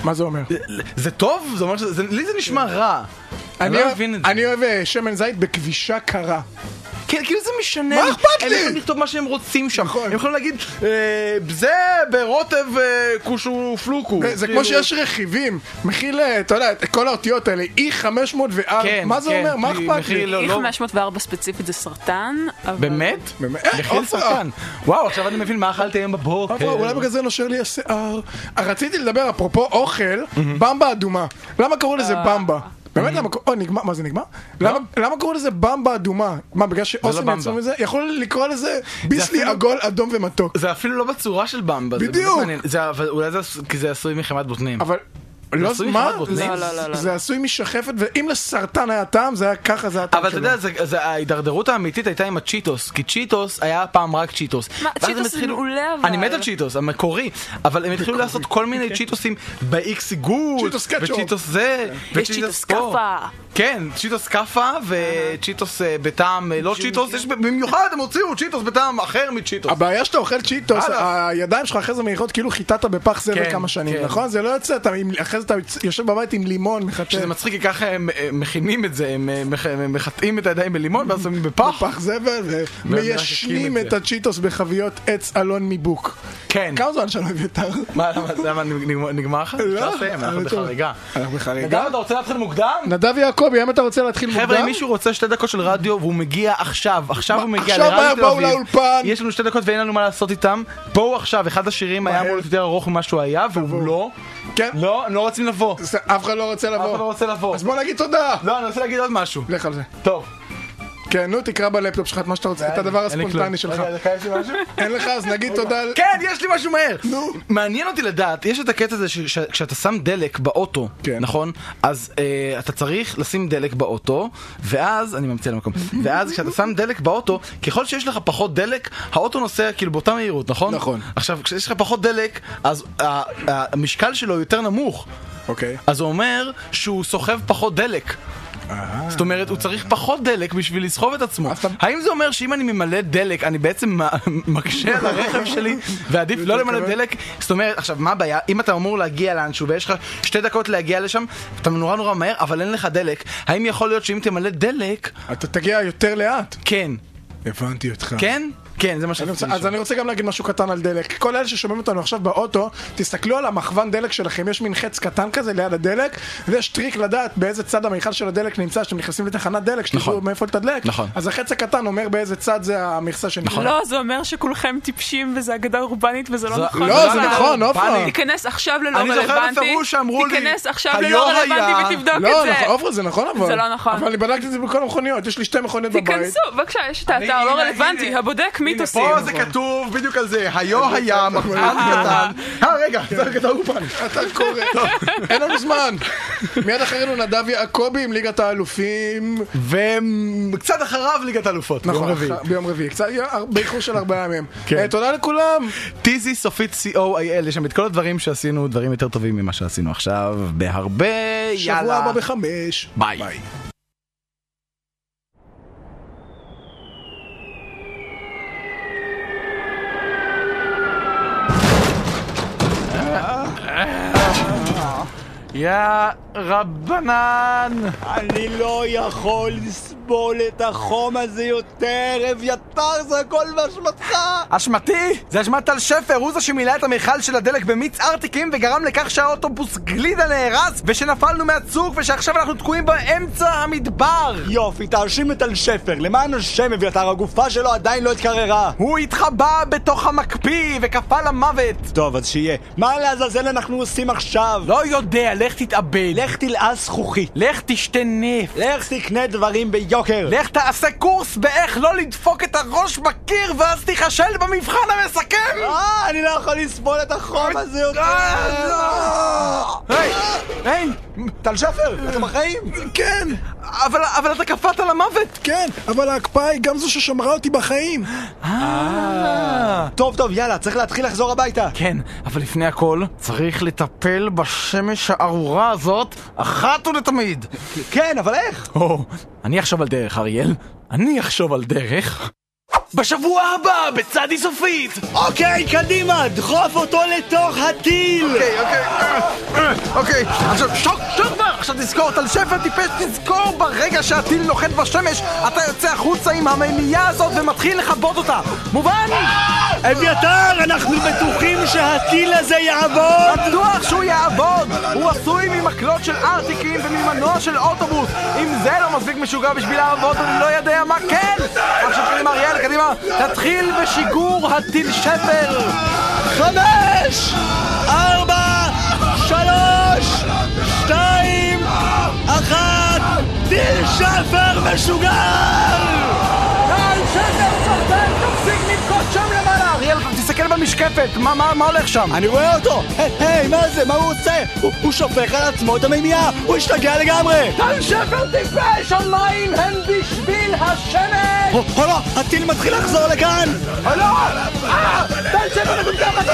Speaker 3: מה זה אומר?
Speaker 1: זה טוב? זה אומר שזה... זה- לי זה נשמע
Speaker 3: כן.
Speaker 1: רע. אני לא
Speaker 3: אוהב-
Speaker 1: מבין את זה.
Speaker 3: אני אוהב אה, שמן זית בכבישה קרה.
Speaker 1: כן, כאילו זה משנה.
Speaker 3: מה נכון. אכפת
Speaker 1: הם
Speaker 3: לי?
Speaker 1: יכולים לכתוב מה שהם רוצים שם. הם יכולים להגיד, אה, זה ברוטב אה, קושו פלוקו.
Speaker 3: זה
Speaker 1: כאילו-
Speaker 3: כמו שיש רכיבים, מכיל, אה, אתה יודע, את כל האותיות האלה, E E504,
Speaker 1: כן,
Speaker 3: מה זה
Speaker 1: כן,
Speaker 3: אומר? מה
Speaker 1: כי
Speaker 3: אכפת לי?
Speaker 1: מכיל לא-
Speaker 5: E
Speaker 1: לא-
Speaker 5: E504 ספציפית זה סרטן, אבל...
Speaker 1: באמת?
Speaker 3: באמת?
Speaker 1: מכיל כן.
Speaker 3: עופרה.
Speaker 1: סרטן. וואו, עכשיו אני מבין מה אכלתי היום
Speaker 3: אבל
Speaker 1: בבוקר.
Speaker 3: אולי בגלל זה נושר לי השיער. אה, רציתי לדבר, אפרופו אוכל, במבה אדומה. למה קראו לזה
Speaker 1: אה.
Speaker 3: במבה? באמת למה קראו... אוי, נגמר, מה זה נגמר? למה למה קראו לזה במבה אדומה? מה, בגלל שאוסם
Speaker 1: לא. במבה.
Speaker 3: יצאו מזה? יכולו לקרוא לזה ביסלי
Speaker 1: אפילו-
Speaker 3: עגול אדום ומתוק.
Speaker 1: זה אפילו לא בצורה של במבה. זה
Speaker 3: בדיוק.
Speaker 1: באמת מעניין. זה- אבל אולי זה עש- כי זה עשוי מחמת בוטנים.
Speaker 3: אבל לא,
Speaker 1: עשוי
Speaker 3: מה?
Speaker 1: מחרבות,
Speaker 3: זה-
Speaker 1: לא, לא, לא, לא.
Speaker 3: זה עשוי משחפת, ואם לסרטן היה טעם, זה היה ככה, זה היה טעם
Speaker 1: אבל אתה יודע, זה- זה- ההידרדרות האמיתית הייתה עם הצ'יטוס, כי צ'יטוס היה פעם רק צ'יטוס.
Speaker 5: מה,
Speaker 1: ואז הם
Speaker 5: צ'יטוס זה
Speaker 1: התחילו-
Speaker 5: מעולה, אבל.
Speaker 1: אני מת על צ'יטוס, המקורי, אבל הם התחילו לעשות כל מיני צ'יטוסים ב-X עיגול,
Speaker 5: צ'יטוס קטשופ. כן.
Speaker 1: וצ'יטוס זה,
Speaker 5: יש
Speaker 1: וצ'יטוס
Speaker 5: צ'יטוס
Speaker 1: פה.
Speaker 5: כאפה.
Speaker 1: כן, צ'יטוס כאפה וצ'יטוס אה, בטעם, אה, לא צ'יטוס, יש במיוחד הם הוציאו צ'יטוס בטעם אחר מצ'יטוס.
Speaker 3: הבעיה שאתה אוכל צ'יטוס,
Speaker 1: הלאה.
Speaker 3: הידיים שלך אחרי זה מעיכות כאילו חיטטת בפח
Speaker 1: כן,
Speaker 3: זבל כמה שנים,
Speaker 1: כן.
Speaker 3: נכון? זה לא יוצא, אתה עם- אחרי זה אתה יוצ- יושב בבית עם לימון, מחטא.
Speaker 1: שזה מצחיק, כי ככה הם אה, מכינים את זה, הם אה, מח- הם מחטאים את הידיים בלימון ואז שמים בפח. בפח
Speaker 3: זבל,
Speaker 1: לא,
Speaker 3: מיישנים את הצ'יטוס בחביות עץ אלון מבוק.
Speaker 1: כן.
Speaker 3: כמה זמן שלא אביתר?
Speaker 1: מה, למה- למה נגמר- נגמר לך?
Speaker 3: לא,
Speaker 1: אפשר לסיים, אנחנו
Speaker 3: אני טוב.
Speaker 1: בחריגה.
Speaker 3: אנחנו בחריגה.
Speaker 1: נדב, אתה רוצה להתחיל מוקדם?
Speaker 3: נדב יעקבי, האם אתה רוצה להתחיל מוקדם?
Speaker 1: חבר'ה, אם מישהו רוצה שתי דקות של רדיו והוא מגיע עכשיו, עכשיו
Speaker 3: מה,
Speaker 1: הוא מגיע
Speaker 3: עכשיו
Speaker 1: לרדיו
Speaker 3: מהר
Speaker 1: תל
Speaker 3: בואו
Speaker 1: אביב.
Speaker 3: לאולפן.
Speaker 1: יש לנו שתי דקות ואין לנו מה לעשות איתם. בואו עכשיו, אחד השירים היה אמור להיות יותר ארוך ממה שהוא היה, והוא לא.
Speaker 3: כן.
Speaker 1: לא, הם לא רוצים לבוא.
Speaker 3: אף אחד לא רוצה לבוא.
Speaker 1: אף אחד לא רוצה לבוא.
Speaker 3: אז בוא נגיד תודה.
Speaker 1: לא, אני רוצה להגיד עוד משהו.
Speaker 3: לך על זה.
Speaker 1: טוב.
Speaker 3: כן, נו, תקרא בלפטופ שלך את מה שאתה רוצה, את
Speaker 1: אין לי,
Speaker 3: הדבר
Speaker 1: אין לי כלום.
Speaker 3: הספונטני שלך.
Speaker 1: רגע, דקה, יש לי משהו?
Speaker 3: אין לך, אז נגיד תודה. על-
Speaker 1: כן, יש לי משהו מהר. נו. מעניין אותי לדעת, יש את הקטע הזה שכשאתה שם דלק באוטו, נכון? אז אה, אתה צריך לשים דלק באוטו, ואז, אני ממציא על המקום, ואז כשאתה שם דלק באוטו, ככל שיש לך פחות דלק, האוטו נוסע כאילו באותה מהירות, נכון? נכון. עכשיו, כשיש לך פחות דלק, אז ה- המשקל שלו יותר נמוך.
Speaker 3: אוקיי.
Speaker 1: אז זה אומר שהוא סוחב פחות דלק. זאת אומרת, הוא צריך פחות דלק בשביל לסחוב את עצמו. האם זה אומר שאם אני ממלא דלק, אני בעצם מ- מקשה על הרכב שלי, ועדיף לא למלא דלק? זאת אומרת, עכשיו, מה הבעיה? אם אתה אמור להגיע לאנשהו ויש לך שתי דקות להגיע לשם, אתה נורא נורא מהר, אבל אין לך דלק, האם יכול להיות שאם תמלא דלק...
Speaker 3: אתה תגיע יותר לאט.
Speaker 1: כן.
Speaker 3: הבנתי אותך.
Speaker 1: כן? כן, זה מה שאני
Speaker 3: רוצה.
Speaker 1: רוצה
Speaker 3: אז אני רוצה גם להגיד משהו קטן על דלק. כל אלה ששומעים אותנו עכשיו באוטו, תסתכלו על המכוון דלק שלכם, יש מין חץ קטן כזה ליד הדלק, ויש טריק לדעת באיזה צד המיכל של הדלק נמצא, כשאתם נכנסים לתחנת דלק, שתדעו מאיפה לתדלק.
Speaker 1: נכון.
Speaker 3: אז החץ הקטן אומר באיזה צד זה המכסה שנכנסה.
Speaker 5: לא, זה אומר שכולכם טיפשים וזו אגדה אורבנית וזה
Speaker 3: זה-
Speaker 5: לא נכון.
Speaker 3: לא, זה
Speaker 5: בכלל.
Speaker 3: נכון, עופרה.
Speaker 5: תיכנס עכשיו ללא
Speaker 3: אני
Speaker 5: רלוונטי.
Speaker 3: זוכר בפירוש שאמרו לי,
Speaker 5: תיכנס עכשיו
Speaker 3: "היו
Speaker 5: ללא רלוונטי
Speaker 3: היה".
Speaker 5: ותבדוק את זה.
Speaker 3: לא, נכון, עופרה, זה נכון אבל.
Speaker 5: זה לא נכון.
Speaker 3: אבל אני בדקתי את זה בכל המכוניות, יש לי שתי מכוניות בבית.
Speaker 5: תיכנסו, בבקשה, יש את האתר לא רלוונטי, הבודק מיתוסים.
Speaker 1: פה זה כתוב בדיוק על זה, היו היה מחמד
Speaker 3: נכון. אה.
Speaker 1: קטן. אה, רגע, זה רק את האולפן.
Speaker 3: אתה קורא.
Speaker 1: לא.
Speaker 3: טוב, אין לנו זמן. מיד אחרינו נדב יעקבי עם ליגת האלופים.
Speaker 1: וקצת אחריו ליגת האלופות, ביום
Speaker 3: נכון,
Speaker 1: רביעי.
Speaker 3: אח- ביום רביעי. קצת באיחור של ארבעה ימים.
Speaker 1: כן.
Speaker 3: אה, תודה לכולם.
Speaker 1: טיזי סופית co.il, יש שם את כל הדברים שעשינו, דברים יותר טובים ממה שעשינו עכשיו, בהרבה, יאללה.
Speaker 3: שבוע הבא בחמש.
Speaker 1: ביי.
Speaker 2: יא רבנן!
Speaker 19: אני לא יכול לסבול את החום הזה יותר, אביתר, זה הכל באשמתך!
Speaker 2: אשמתי? זה אשמת טל שפר, הוא זה שמילא את המכל של הדלק במיץ ארטיקים וגרם לכך שהאוטובוס גלידה נהרס ושנפלנו מהצוק ושעכשיו אנחנו תקועים באמצע המדבר!
Speaker 19: יופי, תאשים את טל שפר, למען השם, אביתר, הגופה שלו עדיין לא התקררה!
Speaker 2: הוא התחבא בתוך המקפיא וקפא למוות!
Speaker 19: טוב, אז שיהיה. מה לעזאזל אנחנו עושים עכשיו?
Speaker 2: לא יודע, לך תתאבד.
Speaker 19: לך תלעז זכוכית.
Speaker 2: לך תשתה נפט.
Speaker 19: לך תקנה דברים ביוקר.
Speaker 2: לך תעשה קורס באיך לא לדפוק את הראש בקיר ואז תיכשל במבחן המסכם!
Speaker 19: אה, אני לא יכול לסבול את החום הזה יותר!
Speaker 2: אה, היי, היי,
Speaker 19: טל שפר,
Speaker 2: לא.
Speaker 19: אתם בחיים?
Speaker 3: כן.
Speaker 2: אבל, אבל אתה קפאת למוות.
Speaker 3: כן, אבל ההקפאה היא גם זו ששמרה אותי בחיים.
Speaker 1: אה.
Speaker 19: טוב, טוב, יאללה, צריך להתחיל לחזור הביתה.
Speaker 2: כן, אבל לפני הכל, צריך לטפל בשמש הארורה הזאת אחת ולתמיד.
Speaker 19: כן, אבל איך?
Speaker 2: או, אני אחשוב על דרך, אריאל. אני אחשוב על דרך.
Speaker 20: בשבוע הבא, בצדי סופית!
Speaker 19: אוקיי, קדימה, דחוף אותו לתוך הטיל!
Speaker 2: אוקיי, אוקיי, אה, אוקיי, עכשיו שוק, שוק כבר! עכשיו תזכור, טל שפר טיפש, תזכור ברגע שהטיל נוחת בשמש, אתה יוצא החוצה עם המימייה הזאת ומתחיל לכבות אותה! מובן?
Speaker 19: אה, אביתר, אנחנו בטוחים שהטיל הזה יעבוד!
Speaker 2: בטוח שהוא יעבוד! הוא עשוי ממקלות של ארטיקים וממנוע של אוטובוס! אם זה לא מספיק משוגע בשביל לעבוד, אני לא יודע מה כן! עכשיו קדימה, אריאל, קדימה, תתחיל בשיגור הטיל שפר!
Speaker 19: חמש! ארבע! שלוש! שתיים! אחת! טיל שפר משוגע!
Speaker 2: טל שפר סרטן, תפסיק לבכות שם למעלה! אריאל, תסתכל
Speaker 21: במשקפת? מה- מה מה הולך שם?
Speaker 2: אני רואה אותו! היי, היי, מה זה? מה הוא עושה? הוא- הוא שופך על עצמו את המימייה! הוא השתגע לגמרי!
Speaker 4: טל שפר טיפש, המים הם בשביל השמש!
Speaker 2: או או לא, הטיל מתחיל לחזור לכאן!
Speaker 4: לא! אה! טל שפר מגומגם,